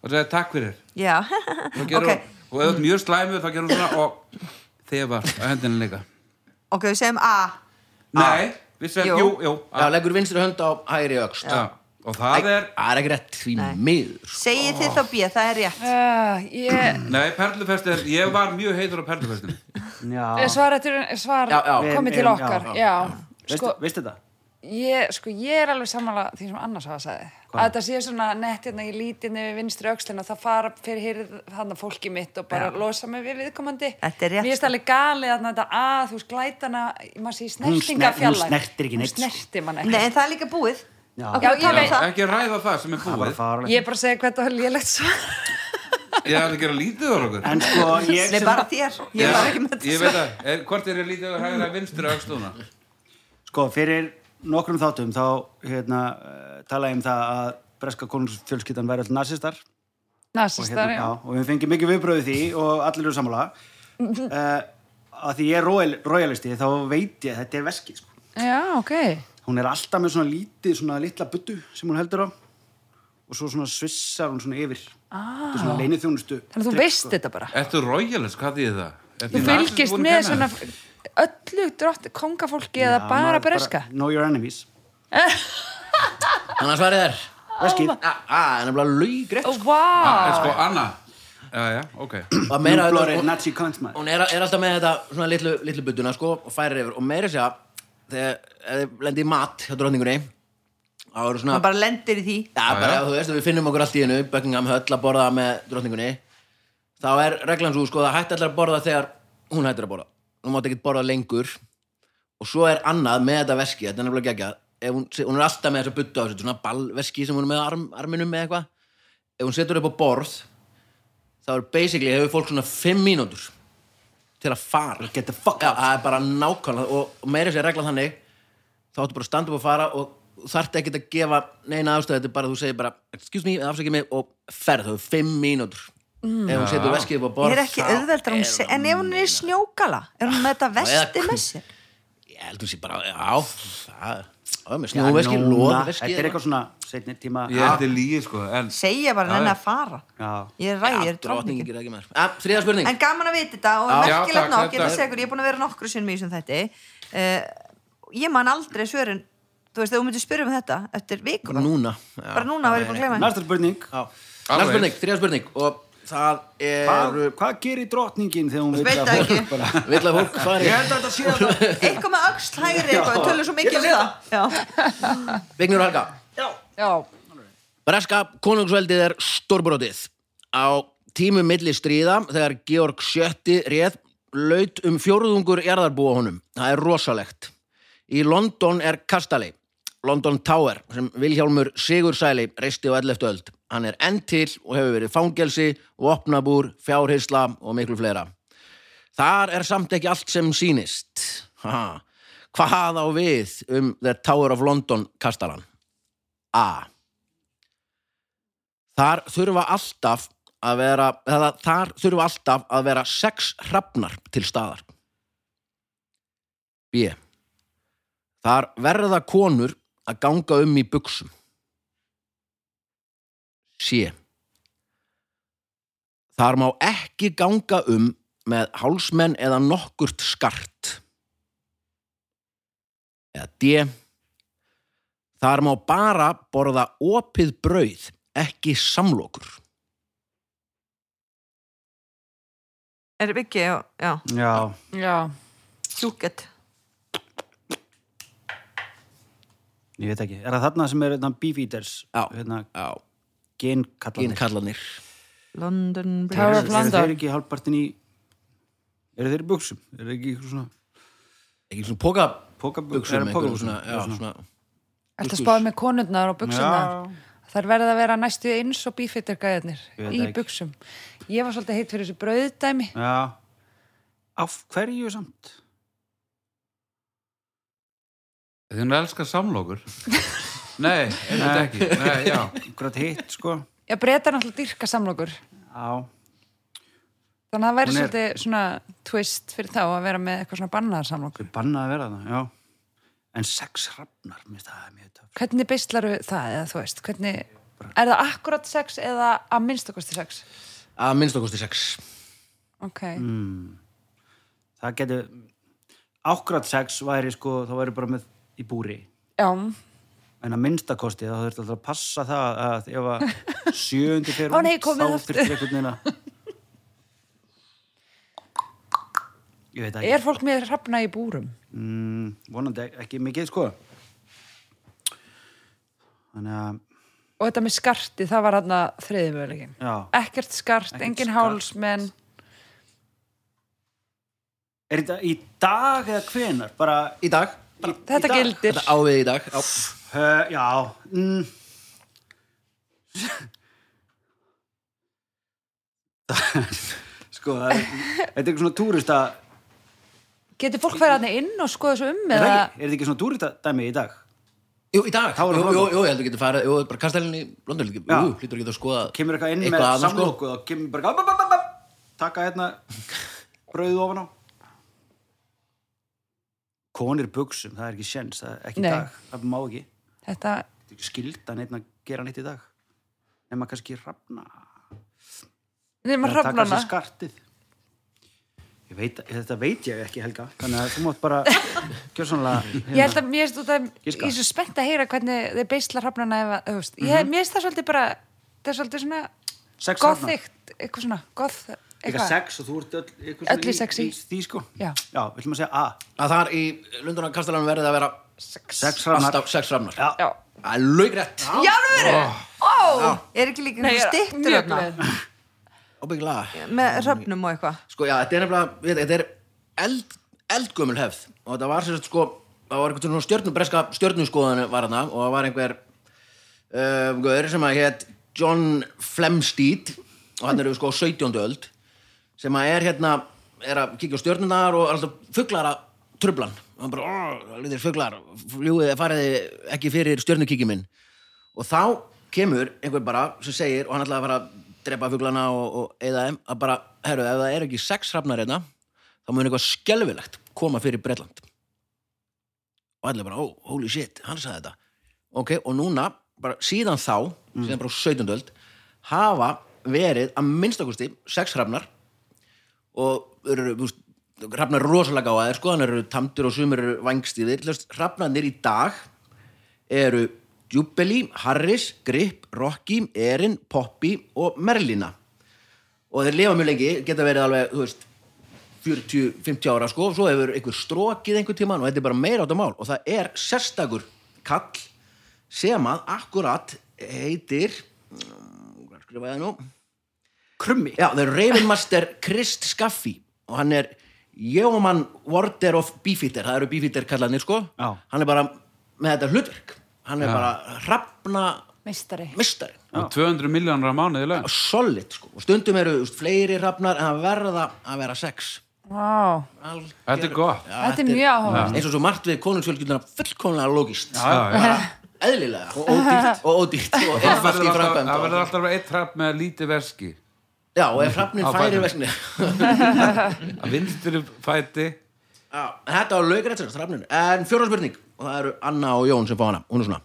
og segja takk fyrir
já,
Þá gerir
ok,
hún, og ef þú ert mjög slæmu þá gerir hún svona og þefar á hendinu líka
ok, við segjum A
Nei, við segjum,
Ah. Jú.
jú, jú, Ah,
Já, leggur vinstri hönd á hægri öxt.
Já. og það er
Það er ekki rétt því
Nei.
miður. sko.
segið þið þá B, það er rétt
Uh, ég,
nei, perlufesti er, ég var mjög heitur á perlufestinu
Já,
svar, eftir, svar
Já, já.
komið til
Já,
okkar
já,
já, Sko,
veistu, veistu þetta?
ég, sko, ég er alveg sammála því sem annars hafa sagði að þetta sé svona nett hérna í lítinni við vinstri öxlina það fara fyrir hér þannig fólki mitt og bara losa mig við viðkomandi
Þetta er rétt,
mér er
sko.
alveg galið að þetta að þú veist glætana maður sé í
Hún sner-
snertinga
hún snertir ekki neitt, sko.
hún snertir mann
nei,
ekki
en það er líka búið
Já.
ok,
Já,
já,
ég
tala
veit.
um það
ekki ræða það sem er
Það var
búið
farlegt.
ég er bara að segja hvað þetta var lélegt svar
ég ætla að gera lítið úr okkur
En sko, ég
nei,
sem,
bara þér, ég var ekki með
ég
þetta
veit að, er, hvort er ég lítið að hægra vinstri aukstúna
sko, fyrir nokkrum þáttum þá hérna, eh, talaði ég um það að breska konungsfjölskyldan væri öll nasistar og,
Nasistar,
hérna,
já.
já, og við fengið mikið viðbröðu því og allir eru sammála uh, að því ég er royal, royalisti þá veit ég að þetta er veski sko.
já, ok
hún er alltaf með svona lítið, svona litla buttu sem hún heldur á og svo svona svissar hún svona yfir ah. svona sko. leinið þjónustu
þannig að þú veist þetta bara
ertu royalist, hvað því það
þú fylgist með svona öllu drott kongafólki eða bara breska
know your enemies
Þannig að svarið er,
veskið
að það er nefnilega laugrætt.
oh, wow.
ah, sko, Anna, já, já, ok
Og meira
Blue
auðvitað
blood
er-
Nazi cunt maður
hún er, er alltaf með þetta svona litlu, litlu budduna sko og færir yfir og meira sér að þegar ef þið lendir í mat hjá dróningunni þá eru svona
hún bara lendir í því
Já,
Já,
bara,
já.
þú veist, við finnum okkur allt í hennu Buckingham höll að borða með drottningunni þá er reglan svo, sko, það hætti allar að borða þegar hún hættir að borða hún mátt ekki borða lengur og svo er annað með þetta veski, þetta er nefnilega geggjað ef hún, se- hún er alltaf með þessa buttu á þessu svona ballveski sem hún er með á arm, arminum með eitthvað ef hún setur upp á borð þá er basically, hefur fólk svona 5 mínútur til að fara
get the fuck
Já,
out
það er bara nákvæmlega og, og meira sér reglan þannig þá áttu bara að standa upp og fara og þarft ekki að gefa neina ástæðu þetta er bara að þú segir bara excuse me, afsækja mig og ferð þú hefur fimm mínútur ef hún setur veskið upp á borð
ég Mm. er ekki
þá
auðveldar hún
er
se-
það
en ef hún er í
meina.
snjókala er hún með þetta
eða
vesti
kun-
með sér
Já, ég heldur sér bara, já, það, það er með
Já,
snjóveski,
núna.
loðveski.
Þetta er eitthvað svona setni tíma
Ég er þetta líið sko en,
segja bara
Já,
henni
já.
að fara
Já.
ég er ræð, ég er
drottningin
drottningin
gerir ekki maður. Ja, þriða spurning.
en gaman að vita þetta og
Já.
Já,
merkilegt
takk,
nokk, ég
þetta
er
er-
segur ég er búin að vera nokkru sinnum í þessum þætti uh, ég man aldrei svörin þú veist, þegar þú myndir spyrja um þetta eftir vikuna,
Núna. Já.
bara núna var ég búin að glema
Næsta spurning
Já. Næsta
Alveg.
spurning, þriða spurning. Og það
Hvað,
er,
hvað gerir drottningin þegar hún
Veit
veit að
það
fólk
ekki.
bara
vill að fólk fari.
Ég held að þetta sé að það
eitthvað með öxl hægri eitthvað, tölur svo mikið um það Já.
Vignur og Helga.
Já,
Breska konungsveldið er stórbrotið. Á tímum milli stríða, þegar Georg VII réð, laut um fjórðungur jarðarbúa honum. Það er rosalegt. Í London er kastali, London Tower, sem Vilhjálmur Sigursæli reisti á 11. öld. Hann er enn til og hefur verið fangelsi, vopnabúr, fjárheysla og miklu fleira. Þar er samt ekki allt sem sýnist. Ha, hvað á við um The Tower of London kastalan? A. Þar þurfa alltaf að vera, eða, þar þurfa alltaf að vera sex hrafnar til staðar. B. Þar verða konur að ganga um í buksum. C. Þar má ekki ganga um með hálsmenn eða nokkurt skart. Eða D. Þar má bara borða opið brauð, ekki samlokur.
er Viki, já, já,
Já,
já,
hjúket
ég veit ekki Er það þarna sem er hérna, beef eaters
Já.
hérna,
Já,
Genkallanir
ginkallanir.
London
Tower
Bridge
of
Eru
London.
þeir ekki hálfpartin í Eru þeir í buksum? Eru þeir ekki ykkur svona
Ekki svona póka
Pókabuksum,
buksum, einhverjum svona, já, svona.
ætla að
Buxus.
spáða með konurnar og buksunar Þar verða að vera næstu eins og bífittir gæðarnir
Ég veit
í
ekki.
buksum Ég var svolítið heitt fyrir þessu brauðdæmi
Já Af hverju samt?
Þið hún elskar samlokur Nei, einmitt ekki Nei, já
Akkurat hitt, sko
Já, breytar náttúrulega dyrka samlokur
Já,
Þannig að það væri
Hún er-
svolítið svona twist fyrir þá að vera með eitthvað svona bannaðar samlokur
þau bannaði að vera það, já En sex hrafnar, mér finnst það er mjög töf
Hvernig beislaru það eða þú veist hvernig, Er það akkurat sex eða að minnstakosti sex?
Að minnstakosti sex.
Ok,
Mm. Það getur Akkurat sex væri, sko, þá væri bara með í búri
já
en að minnstakosti þá þurfti alltaf að passa það að ef að sjöundi fyrir
Ó, nei, komið
þá
aftur.
þurfti einhvern veginn að ég veit það ekki
Er fólk með hrafna í búrum?
mm, vonandi ek- ekki mikið sko þannig að
Og þetta með skarti, það var hann að þriði möguleikin.
já.
Ekkert skart,
Ekkert
engin
skart.
hálsmenn.
er þetta í dag eða hvenar bara í,
Í dag.
í,
Þetta
í dag?
gildir.
Þetta ávið í dag. Já.
Uh, já mm. sko það er, þetta er eitthvað svona túrista
Getur fólk færa hann inn og skoða svo um
er,
eða...
það ekki- er þetta ekki svona túrista dæmi í dag
Jú, í dag.
Þá er
Jú,
London.
jú, jú, ég heldur getur farið, jú, bara kastalinni, London, jú,
Já.
hlýtur að geta að skoða
kemur eitthvað inn
að
með
þarna, sko.
samloku og kemur bara bap, bap, bap, bap, taka hérna brauðið ofan á konir buksum, það er ekki sjens það er ekki í
Nei.
dag, það má ekki það
Þetta,
er ekki skildan einn að gera nýtt í dag nema kannski hrafna
nema
Eða taka
hrafnana.
sér skartið Ég veit, þetta veit ég ekki Helga þannig að þú mátt bara hérna, gjörsanlega
Ég held að mér finnst út að ég
Giska. Mhm.
er svo spennt að heyra hvernig þeir beisla hrafnana ef að, þú veist, ég, mér finnst það svolítið bara, það er svolítið svona
Sex hrafnar.
gothikt, eitthvað svona, goth,
eitthvað
eitthvað.
sex og þú ert öll eitthvað svona
Öll í sexi.
því sko
Já.
já viljum að segja A
Að þar í London og kastalinni verði að vera
sex hrafnar
alltaf sex hrafnar.
Já.
Já.
Það er laugrætt.
Jálfur, ó, er ekki líka
Nei, ég er
stittur
mjög
þarna?
glöð.
Óbyggilega.
með röfnum og eitthvað
Sko, já, þetta er nefnilega, við- þetta er eld, eldgömmul hefð og þetta var sem sagt, sko, það var einhvern svona stjörnum, breska stjörnuskoðan var hana og það var einhver uh, gaur sem að hétt John Flemsteed og hann eru sko á 17. öld sem að er hérna, er að kíkja á stjörnunar og er alltaf fuglar að trublan og hann bara, ó, lítið fuglar fljúið, fariði ekki fyrir stjörnukíkið minn og þá kemur einhver bara sem segir og hann ætlaði að fara að drepa fuglana og, og eða þeim að bara, herru, ef það er ekki sex hrafnar hérna þá mun eitthvað skelfilegt koma fyrir Bretland og allir bara, oh, holy shit, hann sagði þetta ok, og núna, bara síðan þá síðan bara á 17. öld hafa verið að minnstakosti sex hrafnar og þeir eru, þú veist, hrafnar eru rosalega gáðaðir, sko, hann eru tamtur og sumir eru vangstíðir, hlust, hrafnarnir í dag eru Jubilee, Harris, Grip, Rocky, Erin, Poppy og Merlina og þeir lifa mjög lengi, geta verið alveg, þú veist 40-50 ára sko og svo hefur einhver strókið einhver tíman og þetta er bara meira áttu mál og það er sérstakur kall sem að akkurat heitir mm, hvað skrifaði ég nú?
Krummi
Já, það er Raven Master Krist Skaffi og hann er Jóman Warder of Beefeater það eru Beefeater kallanir sko
Já.
hann er bara með þetta hlutverk hann er bara hrafna
meistari
mistari
og 200 miljónur á mánuði í laun
solid sko og stundum eru þú veist, fleiri hrafnar en það verða að vera sex
Vá,
Alger...
Þetta er gott.
Já,
þetta er mjög áhugað
eins og svo margt við konungsfjölgjulina fullkomlega logist
Já, já.
eðlilega og ódýrt og ódýrt og
Það
einfalt
verður
í
alltaf-
framkvæmd
það verður
og-
alltaf að vera eitt trapp með lítið veski
já og ef hrafnin
Á
færi
fætinum.
vesni
að vinstri fæti
Já, þetta var laugrættir hrafnin en fjóra spurning og það eru Anna og Jón sem fá hana hún er svona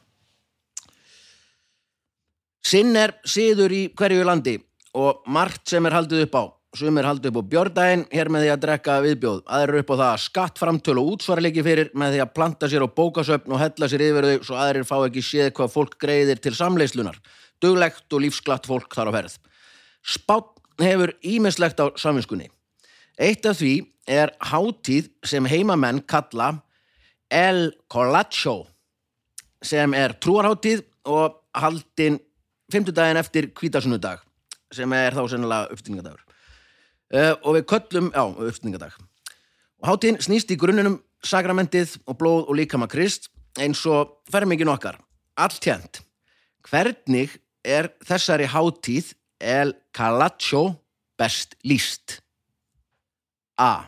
Sinn er siður í hverju landi og margt sem er haldið upp á sum er haldið upp á björdæin hér með því að drekka viðbjóð aðrir upp á það að skatt framtöl og útsvarleiki fyrir með því að planta sér á bókasöfn og hella sér yfir þau svo aðrir fá ekki séð hvað fólk greiðir til samleyslunar duglegt og lífsglatt fólk þar á ferð Spátn hefur ímislegt á samvinskunni Eitt af því er hátíð sem heimamenn kalla El Colacho sem er trúarhátíð og haldin fimmtudaginn eftir hvítasunnudag sem er þá sennilega uppstinningardagur. Uh, og við köllum, já, uppstinningardag. Og hátíðin snýst í grunninum sakramentið og blóð og líkama krist eins og fermingin okkar. Alltjent. Hvernig er þessari hátíð El Calacho best líst? A.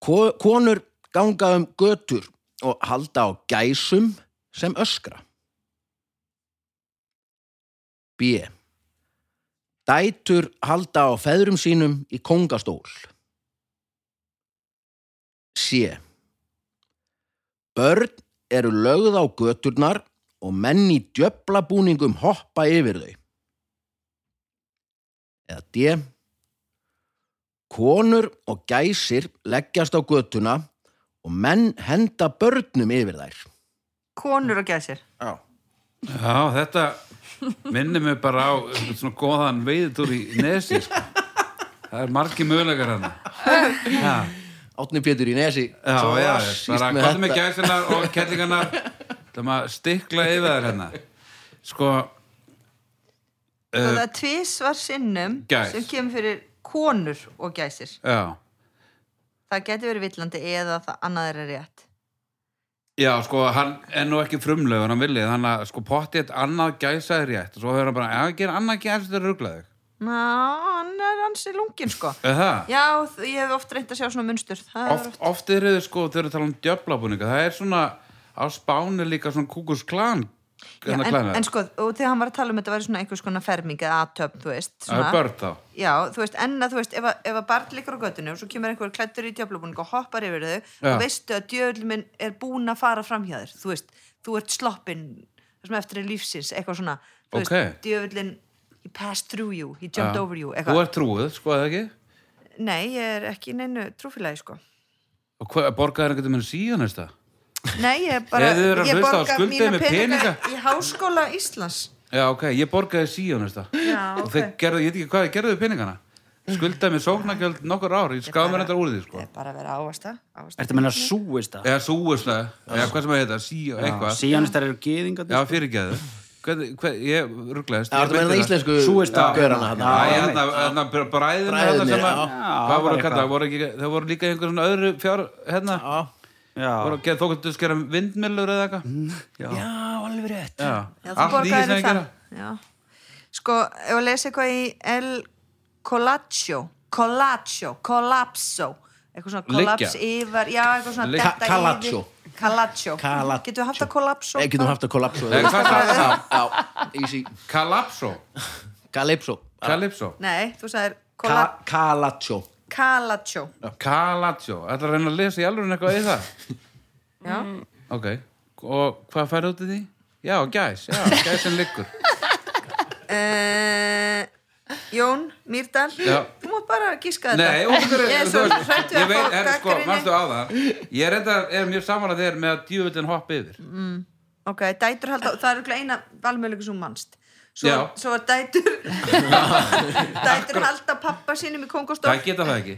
Ko- Konur ganga um götur og halda á gæsum sem öskra. B. Dætur halda á feðrum sínum í kongastól. C. Börn eru lögð á göturnar og menn í djöflabúningum hoppa yfir þau. Eða D. Konur og gæsir leggjast á götuna og menn henda börnum yfir þær.
konur og gæsir
Já.
Já, þetta minnir mig bara á svona góðan veiðutúr í Nesi sko. það er hérna. margi mögulegar hann Já,
Átni Pétur í Nesi.
já,
svo
já
rassist
bara
með
hvað með
þetta.
gæsinnar og kellingarnar það maður stikla yfir þær hennar sko,
og það er tvisvar sinnum
Gæs.
sem kemur fyrir konur og gæsir
já
það getur verið villandi eða það annað er rétt
Já, sko, hann er nú ekki frumlögur, hann vilja, þannig að sko pottið annað gæsaði rétt og svo höfður hann bara, ef hann gerir annað gæsaði þetta rugglaði.
Ná, hann er ansi lungin sko
Er það?
Já, þ- ég hef oft reynt að sjá svona munstur Það er
oft, oft eru þau sko, þau eru að tala um djöflabúninga það er svona, á Spáni líka svona kúkusklan
Já,
Hérna
en, en sko, og þegar hann var að tala um þetta væri svona einhvers konar ferming eða aðtöfn, þú veist
það er
svona.
börn þá
Já, þú veist, en að þú veist, ef að, ef að barn liggur á göttinu og svo kemur einhver klættur í djöflubúning og hoppar yfir þau
Já.
og veistu að djöfluminn er búin að fara fram hjá þér, þú veist, þú ert sloppinn það sem eftir er lífsins, eitthvað svona þú
Ókei.
veist, djöflinn he passed through you, he
Já.
jumped over you
Þú
eitthvað,
ert trúið, sko, eða ekki?
nei, ég er ekki í neinu trúfélagi, sko,
Og hvað, borgaði hann getur með síðan, veist það?
nei, ég bara
Ef þið eru að
ég
hlusta á
borga
skuldið
mína
með peninga.
peninga í háskóla Íslands
Já, ok, ég borgaði síðan, veist það
Já,
og þeir gerðu, ég veit ekki hvað, þeir gerðu peningana skuldaði mér sóknargjöld nokkur ár ég skáði mér
bara-
þetta úr því, sko
Ég er bara að vera ávasta, ávasta.
Ertu að menna súist það?
eða súisla, eða hvað sem að heita, sí og eitthvað
Síjanistar eru gyðingar
já, fyrirgeðu Hvað, hvað, ég rugglaðist
Já, það er með það íslensku
Súgursta.
görana þarna.
Já,
Æ, þarna- þarna br- bræðinu
Bræðurnir,
þarna
já.
sem að,
Já,
hvað voru
eitthvað.
að kalla, voru ekki, það voru líka einhver svona öðru fjár, hérna, voru
Já,
að gera, þó kanntu að skera vindmillur eða eitthvað.
Mm, Já, alveg rétt.
Já,
Já, þú
allt líka
borgaðir
sem
um
að gera.
það. Já. Sko, ef að lesa eitthvað í El Colaccio, Colaccio, Collapso, eitthvað svona
Liggja.
kollaps yfir, já, eitthvað svona
Liggja.
detta
Calaccio.
yfir. Calaccio.
Calaccio.
Getum við haft að Collapso?
Ég Eh, getum haft að kollapso.
Nei, hvað sagði það?
Já, easy.
Kalapso,
Calypso.
Kalipso,
Nei, þú sagðir Cola-
Ka- Calaccio.
Calaccio.
Kalaccio, ætlar að reyna að lesa í alveg eitthvað í það.
já.
Ok, og hvað færðu út í því? Já, gæs, já, gæsin liggur
Uh, Jón Mýrdal
Já.
þú mátt bara gíska þetta
Nei, okkur
ég er svo hrættu
Ég
að
veit,
fá
er, sko,
gagnrýni.
mannstu á það Ég er enda, er mjög samanlega þér með að djúvillin hoppa yfir
ok, dætur halda, það er örugglega eina valmöðlega sem þú manst svo,
Já.
svo er dætur dætur halda pappa sínum í kongostók
Það geta það ekki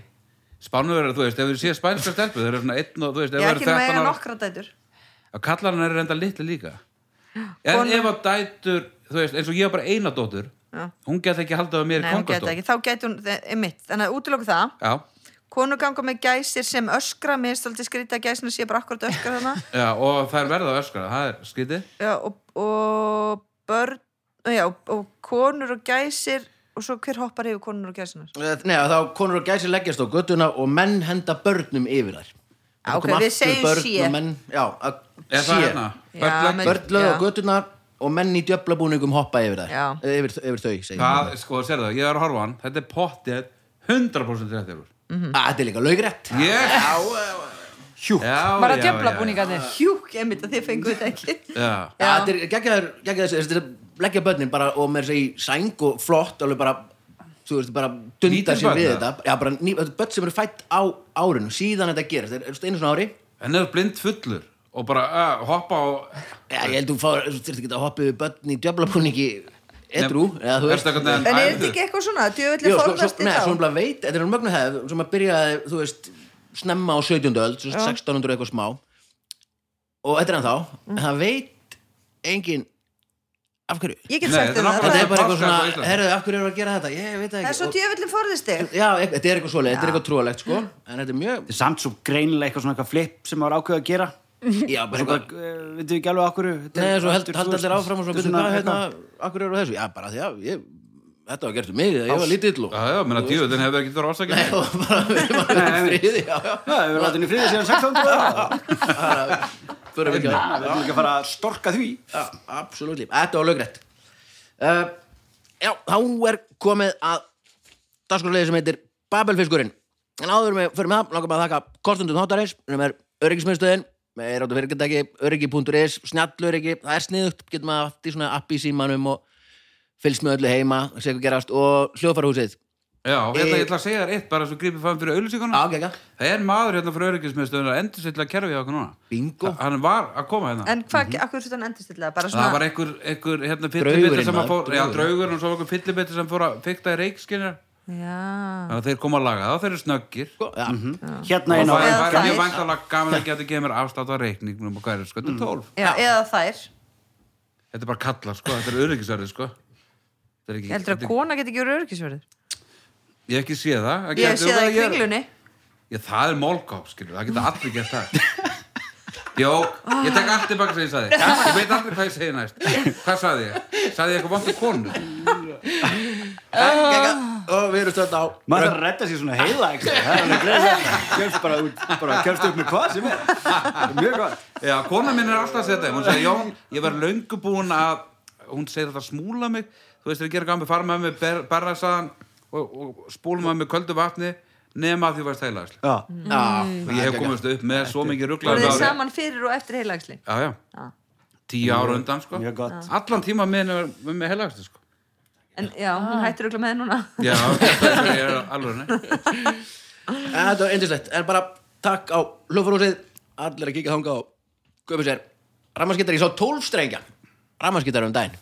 Spánverður, þú veist, ef þú sé spænska stelpu þeir eru svona einn og, þú veist, ef
ég
þú
er
eru
ekki með
13
eiga
ára
nokkra dætur
að kallarinn er enda litli líka En
Konur-
ef að dætur, þú veist, eins og ég er bara eina dóttur
Já.
Hún geta ekki haldið að mér
Nei,
í
hún geta
kongastók
ekki, þá gæti hún, er mitt þannig að útilóku það,
Já,
konur ganga með gæsir sem öskra, mér er stoltið skrýta gæsina sé bara akkurat öskra þarna
já, og það er verða öskara, það er skytið
já, og, og börn já, og, og konur og gæsir og svo hver hoppar yfir konur og gæsinar
Eh, Nei, þá konur og gæsi leggjast á göttuna og menn henda börnum yfir þær. Það
ok,
kom
við
aftur
segjum
börn
sé.
og Menn, já, að
Er
sé.
það hérna?
Já,
Börn-
með-
Börn lög á
Já.
göttuna og menn í djöflabúningum hoppa yfir þær.
Já.
Yfir, yfir þau, segjum.
Það, sko, sér það, ég er að horfa á hann Þetta er pottið 100% rétt yfir
Mm
Mhm.
-hmm. Þetta er líka laugrætt.
Yes! Já,
Hjú.
já, já
Bara
já,
djöfla
já.
búningarnir.
hjúk, ég myndi að þið fengu þetta ekki
Já,
Já, þetta er geggjaður, geggjaður, þetta er leggja börnin bara og mér segi sæng og flott, alveg bara, þú veist, bara dunda
Lítil
sér
börn,
við
eða?
þetta. Já, bara ný, þetta er börn sem eru fætt á árinu, síðan þetta gerist, þetta er þú veist, einu svona ári.
en eða blind fullur og bara uh, hoppa á
Já, ég held þú fáir, þú þurft ekki að hoppa yfir börn í djöflabúningi edru, eða þú veist.
eitthvað
en er þetta ekki eitthvað svona, djöfulli
Jó, sko, svo,
forðast í
neða,
þá
svo umlað veit, þetta er mjög mjög hefð sem að byrjaði, þú veist, snemma á 17. öld, svo veist, 1600 eitthvað smá og þetta er hann þá
Mm.
en það veit engin af hverju
ég get
Nei,
sagt
þetta er
þér það,
nákvæmlega-
það
þetta er
er-
bara
Páska
eitthvað
á Íslandi.
svona, herðu, af hverju eru að gera þetta ég veit það
það
ekki
er svo
Og-
djöfulli forðast þig
já, e- þetta er eitthvað svoleið, þetta er eitthvað trúalegt
Mm.
sko, en þetta er mjög
Þetta er samt svo greinilega eitthvað svona eitthvað flip sem var ákveð að gera
já,
og
bara
svo
eitthvað,
bara, eh, veitum við ekki alveg okkur
neða, svo held, hald allir áfram og svo byrju, hvað, hérna, af hverju eru þessu já, bara því að, ég, þetta var gert um mig ég var lítill og
Já, já, menna djöðin hefur ekki þurra ásækja
og bara, við varum friði já, já,
það hefur látið henni friðið síðan 1600 ára.
fyrir við ekki
við erum ekki að fara að storka því
Já, absolutt. Þetta var lögrætt. Uh, já, þá er komið að dagskorlegið sem heitir Babelfiskurinn. En áður með, fyrir með það, langar maður að þakka kostundum þáttarins, sem er öryggismiðstöðin, er áttu fyrirgættæki, öryggi.is, snjallöryggi, það er sniðugt, getur maður haft í svona app í símanum og fylgst með öllu heima, sé hvað gerast, og hljóðfarhúsið.
Já, hérna ég ætla að segja þér eitt bara svo grípið fram fyrir auðlýsinguna
Ágækja,
Það er maður hérna fyrir öryggismiðstöðun að endur sýtla kerfi á okkur núna
bingo.
Hann var að koma hérna
Mhm.
en hvað, akkur þetta endurstilla bara
Það var
svona,
einhver, einhver hérna fyllibiti
Draugurinn,
sem að
maður,
fór Já,
draugurinn.
draugur og svo var einhver fyllibiti sem fór að fykta í reikskinjar
já
Þannig að þeir koma að laga það, þeir eru snöggir
Sko, Já,
hérna
Og
inn á
það er-
Eða
það er
þær.
mjög væntalega gaman að geta gefið mér afslátt á reikningnum og hvað er
Mm.
þetta, sko, þetta er 12
Já, eða þær
Þetta er bara kallar, sko, þetta er öryggisverði, sko Þetta er ekki,
heldur að
þetta er-
kona geti ekki verið örgisverðið
Ég hef ekki séð það
ég hef séð það í
kringlu
kringlunni
Já, það er málkáp, skilur, það geta allir gert það Jó, ég tek allt tilbaka sem ég saði
Ah.
Ég veit aldrei hvað ég segi næst Hvað saði ég? Saði ég eitthvað vant í konu?
ágækja. Og við erum stönd á
maður þarf að redda sér svona heiða ekki? það er alveg greið kemst bara, út- bara kemst upp með hvað sem er Þetta er mjög gott
Já, kona mín er alltaf að segja þetta Hún sagði, Jón, ég var löngu búin að Hún segir þetta smúla mig Þú veist, þegar ég er gamið fara með mig ber, berra saðan og, og spúla með mig köldu vatni nema að því varst heilaðislega
já.
Mm.
og ég hef komist upp með svo mikið
voruð
rugglaður
þið saman fyrir og eftir heilagsli
já, já. tíu ára undan sko.
mjög gott.
allan tíma með henni með helgastu sko.
en já, hún hættir örugglega með það núna
já, þetta er alveg nei.
En Þetta var eindislegt, en bara takk á hljófarhúsið, allir að kíkja þangað og köpa sér rammaskittar, ég sá tólfstrengja rammaskittar um daginn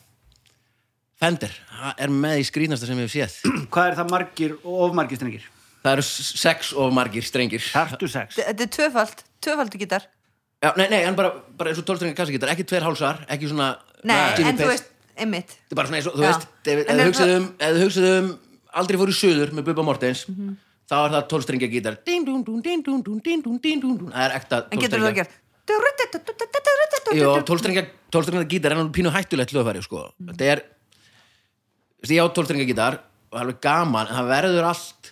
Fender, það er með í skrýnasta sem ég hef séð
Mm. hvað er það margir og ofmargir strengir?
Það eru s- sex of margir strengir Já,
tartu sex
þetta er tvöfald, tvöfaldu gítar
nei, nei, en bara, bara eins og tólfstrengja kassagittar, ekki tveir hálsar, ekki svona
nei,
Jimmy
en þú
Page.
veist, einmitt
Þetta er bara svona eins og, þú
Já.
veist, ef- ef
En
þú
er
hugsið
það-
um, ef þú hugsið um aldrei fór í suður með Bubba Mortens
Mhm.
þá er það tólfstrengja gítar Ding, dún, dún, ding, dún, dún, ding, dún, ding, dún, dún. Það er ekta
en getur
tólfstrengja.
það gert
Jó, tólstrengja, tólstrengja gítar er hann pínu hættulegt hljóðfæri, sko.
Mm.
Þetta er, þessi ég á tólstrengja gítar og það er alveg gaman, en það verður allt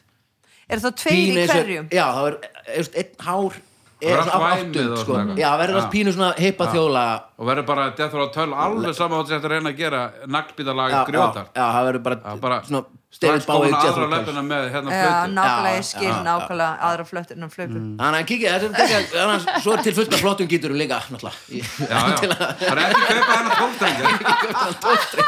er þá tveir í
eins og-
hverjum
Já, það er, eftir, einn hár er
Það er
svona
allt væmið
áttund,
og
sko.
svona eitthvað.
Já, það verður
Já.
allt pínu svona hippa þjóla
og verður bara death row töl alveg saman hvað þetta er að reyna að gera naglbítalag
Já, já,
grjótar
já, það verður bara,
Já, bara-
svona David
strax komin
Bowie, Jethro
aðra
Tull.
löpina með hérna
Já,
flötu
nákvæmlega,
Já,
ég skil
já, Mm. já.
nákvæmlega aðra flöttur en flötu.
Þannig að kíkja, þetta er þetta annars, svo er til fullt af flottum gíturum líka, náttúrulega. Í-
Já, já, það er ekki kaupa hennar tólfdrengja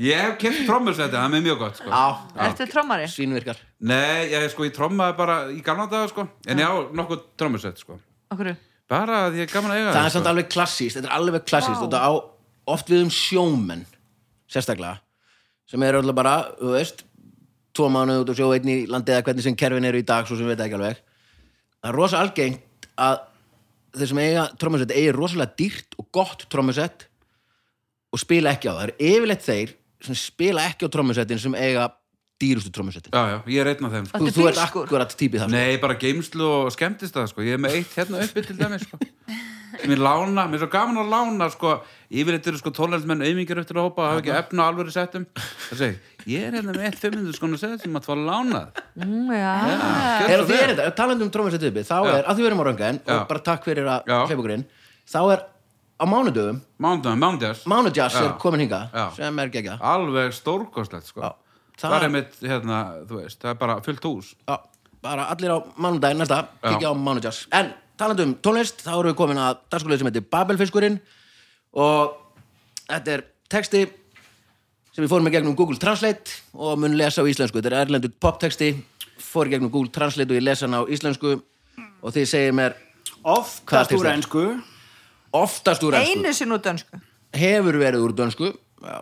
Ég hef kemst trommursætti, það er mér mjög gott sko.
Já,
Ertu trommari?
svínvirkar.
Nei, ég, sko, ég trommaði bara í gamla daga sko. En já, nokkuð trommursætt sko.
Okkur?
Bara að ég er gaman að eiga
Það er
sko.
samt alveg klassíst, þetta er alveg klassíst
Vá.
og þetta á oft við um sjómenn, sérstaklega, sem eru alltaf bara, þú veist, tvo mánuð út og sjó einn í landið eða hvernig sem kerfin eru í dag, svo sem við veit ekki alveg. Það er rosa algengt að þeir sem eiga trommusett eigi rosalega dýrt og gott trommusett og spila ekki á það. Það eru yfirleitt þeir sem spila ekki á trommusettin sem eiga dýrustu trommusettin.
Já, já, ég er einn af þeim sko.
Þú,
Þetta er
þú ert
bílskúr.
akkurat típið það. sko.
Nei, bara geimslu og skemmtist það sko. Ég er með eitt hérna uppi til dæmis sko. Mér lána, mér er svo gaman að lána sko. Yfirleitt eru sko tónlæðismenn auðmingir eftir að hópa, hafa ekki efna alvöru settum Það segi, ég er hérna með eitt 500 skona sett sem að það var lánað
Mm, já.
Er því er þetta, talandi um trómansett uppi þá
Já.
er, að því verðum á röngan
Já.
og bara takk fyrir að
Já.
hleypa okkur inn þá er á mánudöfum,
Mándagum, mándags
mánudags
Já.
er komin hinga
Já.
sem er gegja
alveg stórkostlegt sko.
Já.
það,
Það-
er mitt, hérna, þú veist, það er bara fullt hús
bara allir á mánudaginn næsta,
Já.
kikja á mánudags en talandi um tónlist, þá erum við komin að dagskulegu sem heitir Babelfiskurinn og þetta er texti sem við fórum í gegnum Google Translate og mun lesa á íslensku þetta er erlendur poptexti, fór í gegnum Google Translate og ég lesa hann á íslensku og þið segir mér
Oftast
tekst
úr
það?
ennsku
oftast úr ensku
Einu sinn úr dönsku.
hefur verið úr dönsku já.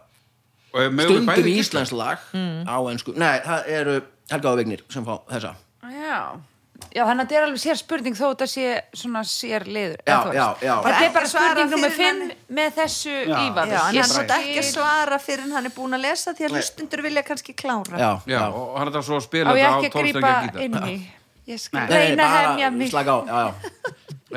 Og ef mögum við bæði
stundum
giska?
íslensk lag
Mm.
á ennsku, nei, það eru Helga og Vignir sem fá þessa
Já. Já, þannig að þetta er alveg sér spurning þó þetta sé svona sér liður.
Já,
eða þú veist.
já, já.
Þetta er
Ekki
bara
svara
spurning nummer
fyrir
5
henni.
með þessu
Já.
ívar.
Já, en
Ég
hann
bara-
búið ekki að svara fyrir en hann er búin að lesa því að hlustundur vilja kannski klára.
já,
Já, og hann er það svo að
Á
spila
ég
þetta á
ekki að grípa
tólfstængja gítar
inn í. Ég skal
Nei, nei,
reyna að hemja
bara
mig.
slaka á, já, já.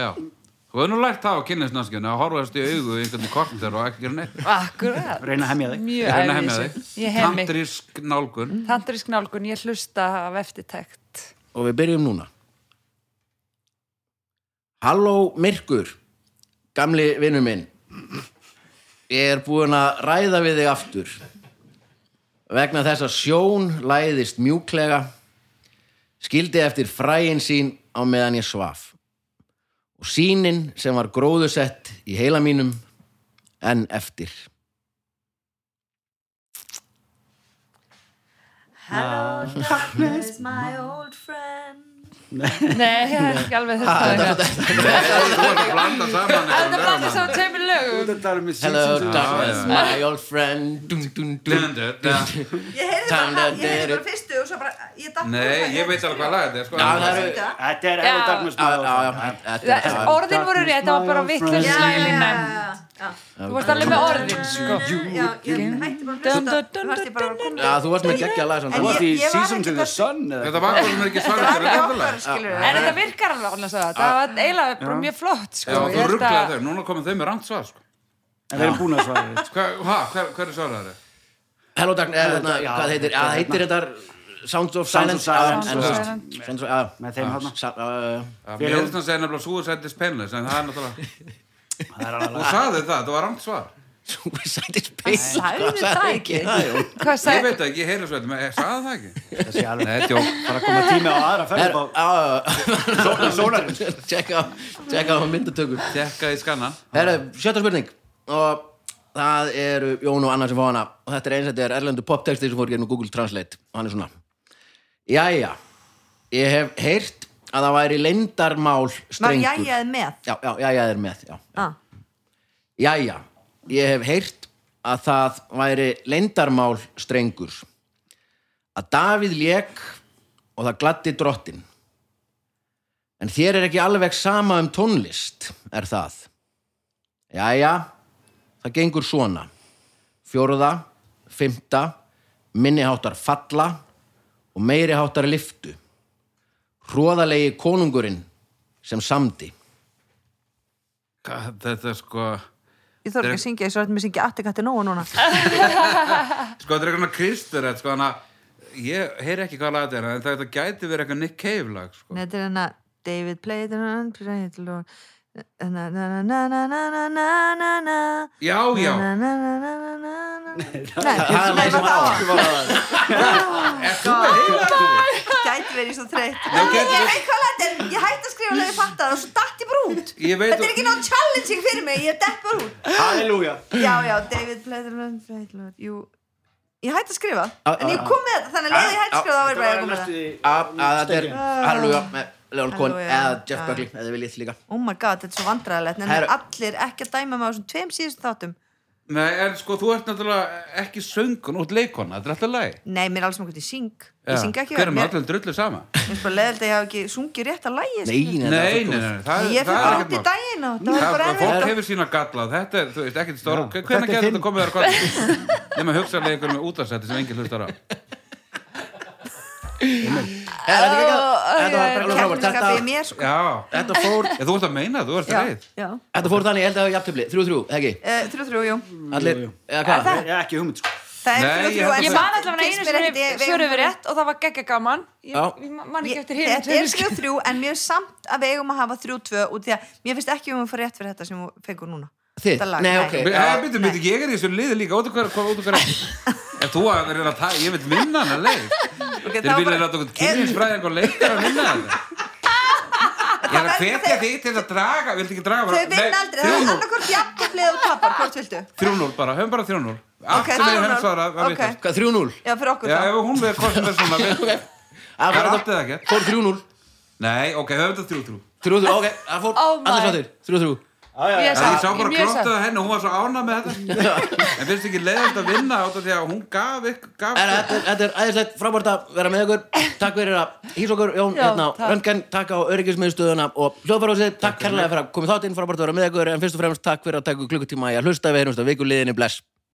Já, þú hefur nú lært það á kynlisnarskjönu að horfast í augu í einhvern korter og ekki gera neitt
Akkurat.
Reyna að hemja þig.
Mjög
Ég
æfið
hemja
þessu.
þig
Ég hemmi.
Tantrísk nálgun
Tandrisk nálgun, ég hlusta af eftirtækt.
og við byrjum núna Halló Myrkur gamli vinnu minn ég er búin að ræða við þig aftur vegna þess að sjón læðist mjúklega skildi eftir fræin sín á meðan ég svaf og sínin sem var gróðusett í heila mínum en eftir
Hello, darkness, my old friend.
Nei, ég er ekki alveg þetta.
Þú er að blanda saman
Þetta
einhverjum
bæði svo
lögum.
tveimur lögum.
um
Hello
já.
darkness my old friend dun, dun, dun, dun, dun.
Ég heyrði
Time
bara,
that
ég heyrði
did
bara fyrstu og svo bara, ég datt
Nei, ég veit alveg hvað lag þetta er sko.
Já, það eru-
Já,
Þetta er
Já.
Hello Darkness My
Já,
Old
já, já,
Friend.
þetta er-
Það- Orðin voru rétt, það var bara vittlust
já, já, já,
slælina.
já, já.
Þú varst alveg með orðin, sko.
Já, ég hætti bara að
Dun,
hlusta,
dun, dun,
þú varst ég bara að koma.
Já, þú varst með geggja lag samt
En
Þú varst í
Ég- ég var
Season to
ekki
the
þar-
Sun eða
Þetta
eitthvað.
var hvernig ekki
Það
svarið
var
fyrir
alveg
þetta
okkar,
lag
skilur
En þetta virkar alveg alveg svo. Það var eiginlega bara mjög flott, sko.
Já,
Ég
þú
held
rugglaði
að-
þau, núna komið þau með rangt svar sko.
En við erum búin að svara þetta.
Hva- ha, Hver hver er svarið þetta?
Hello Darkness, eða þarna,
Já,
hvað heitir, já,
þetta-
heitir þetta Sounds of
Sounds of
Silence
Silence.
Já, en þú veist, Sounds of, já
Með þeim hana.
Sa- uh, já,
Já, Mér finnst það að segja nefnilega Suicide is painless en það er náttúrulega
Það er alveg
Þú sagði það, það var rangt svar
Suicide is pain
sagði
Hvað
það ekki?
Það, jú.
Hvað
Ég
sagði?
veit ekki, ég heyri svo þetta, ég sagði það ekki
þessi alveg.
Nei, tjók
Það er að koma tími á aðra
Er-
ferð upp
Já,
á sólarins.
já, tjekka á tjekka á myndatöku
Tekka í skannan
Herra, sjötta spurning og það eru Jón og Anna sem fá hana og þetta er eins að þetta er erlendu poptexti sem fór gegnum Google Translate og hann er svona Jæja, ég hef heyrt að það væri leyndarmál
Var
strengur
jæjaði með?
Já, já, jæja er með, já
Ah.
Jæja, ég hef heyrt að það væri leyndarmál strengur að Davíð lék og það gladdi drottin en þér er ekki alveg sama um tónlist er það Jæja, það gengur svona fjórða, fymta minniháttar falla og meiriháttar liftu hróðalegi konungurinn sem samdi
Hvað, Þetta er sko
Ég þarf ekki að syngja, ég svo hættum að syngja Attikatti Nóa núna.
Sko, þetta er eitthvað kristur sko, þannig að ég heyri ekki hvað laga þetta er en þetta gæti verið eitthvað Nick Cave lag sko.
Þetta er hérna David played an unplayed Lord Na na na na na na na na na na
Já, já
Na na na na na na na Nei,
Það er maður sem á
það
var það.
gæti verið svo þreytt
Nei,
Ég
gæti
ég
verið-
veit hvað þetta er, ég hætti að skrifa lög ég fatt það og svo datt ég bara út
Ég veit
Þetta er
að-
ekki nátt challenging fyrir mig, ég depp bara út
Halleluja
Já, já, David Platerland, Platerland, jú Ég hætti að skrifa,
Ah,
en ég
ah,
kom með þetta þannig að leið ég hætti að skrifa það var ég bara að koma með það
Að að þetta er Halleluja með Leon Cohen
Halleluja.
eða Jeff
Já.
Buckley eða viljið líka
Oh my god, þetta er svo vandræðilegt en
Herru.
allir ekki að dæma með þessum tveim síðustu þáttum
Nei, en sko, þú ert náttúrulega ekki söngun út leikona, þetta er alltaf læg.
Nei, mér er alls maður hvernig ég syng Ég syng ekki
Hver
vel,
er með
mér
allir drullu sama?
mér er bara leðilt að ég hafi ekki sungið rétt að lægi
Nei, nei,
Nei, nei, nei,
nei
nei, það er
Ég fyrir
það er
bara út
ekkert
í
mál.
daginn og það
Það
var bara
bara fólk
erfitt
hefur sína galla, þetta er, þú veist, ekkert stór,
Já, og þetta
hvernig
er
getur
þinn-
þetta komið þar hvað? Nefnum hugsaðleikur með útastætti sem enginn hlustar á.
Þetta er geggjað. Þetta var
að
bara frábært.
Kæmniskapið í
Þetta-
mér sko.
Já,
Þetta fór
ég, þú ert að meina, þú ert
Já,
reið.
já.
Þetta fór þannig, ég held að það var jafntöfli, 3-3, eða ekki?
Eh, Þrjú, þrjú, jú
Allir, eða hvað?
Það-
Ég er ekki hugmynd sko
Nei,
Það er
ég held að-
Ég
en
man
samt
allavega
finnst
einu
mér ekkert
sem
ég-
svöruðu
við-
rétt og það var geggja gaman. Ég,
Já.
ég man man ekki
Ég-
eftir hinn.
Þetta er þrjú þrjú en mér er samt að við eigum að hafa þrjú tvö og því að mér finnst ekki um að fara rétt fyrir þetta sem hún fengur núna
Þið?
Þetta
Nei,
lag, nei.
ok.
Nei, byrju, byrju, ég er í þessu liði líka, út og hver, hvað, út og hver En þú að vera að taka, ég vil minna hana leik Þeir
þá
vilja
bara-
láta okkur kynningsfræði einhver leikar að minna hana Ég er að hvetja þig til að draga, viltu ekki draga
Þau vinna aldrei, það er
3-0,
annarkort jafnlið og tapar, hvort viltu?
3-0 bara, höfum bara 3-0
Ok,
Allt sem við
3-0,
höfum svarað,
ok.
var vitast
Hvað, 3-0?
Já, fyrir okkur
Já,
þá
ef hún verður hvort sem er svona við-
Það
Það
fór
er allt
þetta-
eða ekki
fór 3-0.
Nei, ok, höfum þetta 3-3
3-3, ok, það fór
Oh my.
allir sáttir. 3-3.
Ég
Það ég sá bara
mjög sátt.
glótaða henni, hún var svo ána með þetta En finnst ekki leiðast að vinna út af því að hún gaf ykkur gaf
Er- Þetta er- þetta er æðislegt frábært að vera með ykkur. Takk fyrir að hýsa okkur, Jón,
Já,
hérna á
takk.
Röntgen, takk á öryggismiðstöðuna og hljóðfærhúsið. Takk kærlega fyrir að komið þátt inn, frábært að vera með ykkur, en fyrst og fremst takk fyrir að taka ykkur klukkutíma í að hlusta við, hérna, vikuliðinni, bless.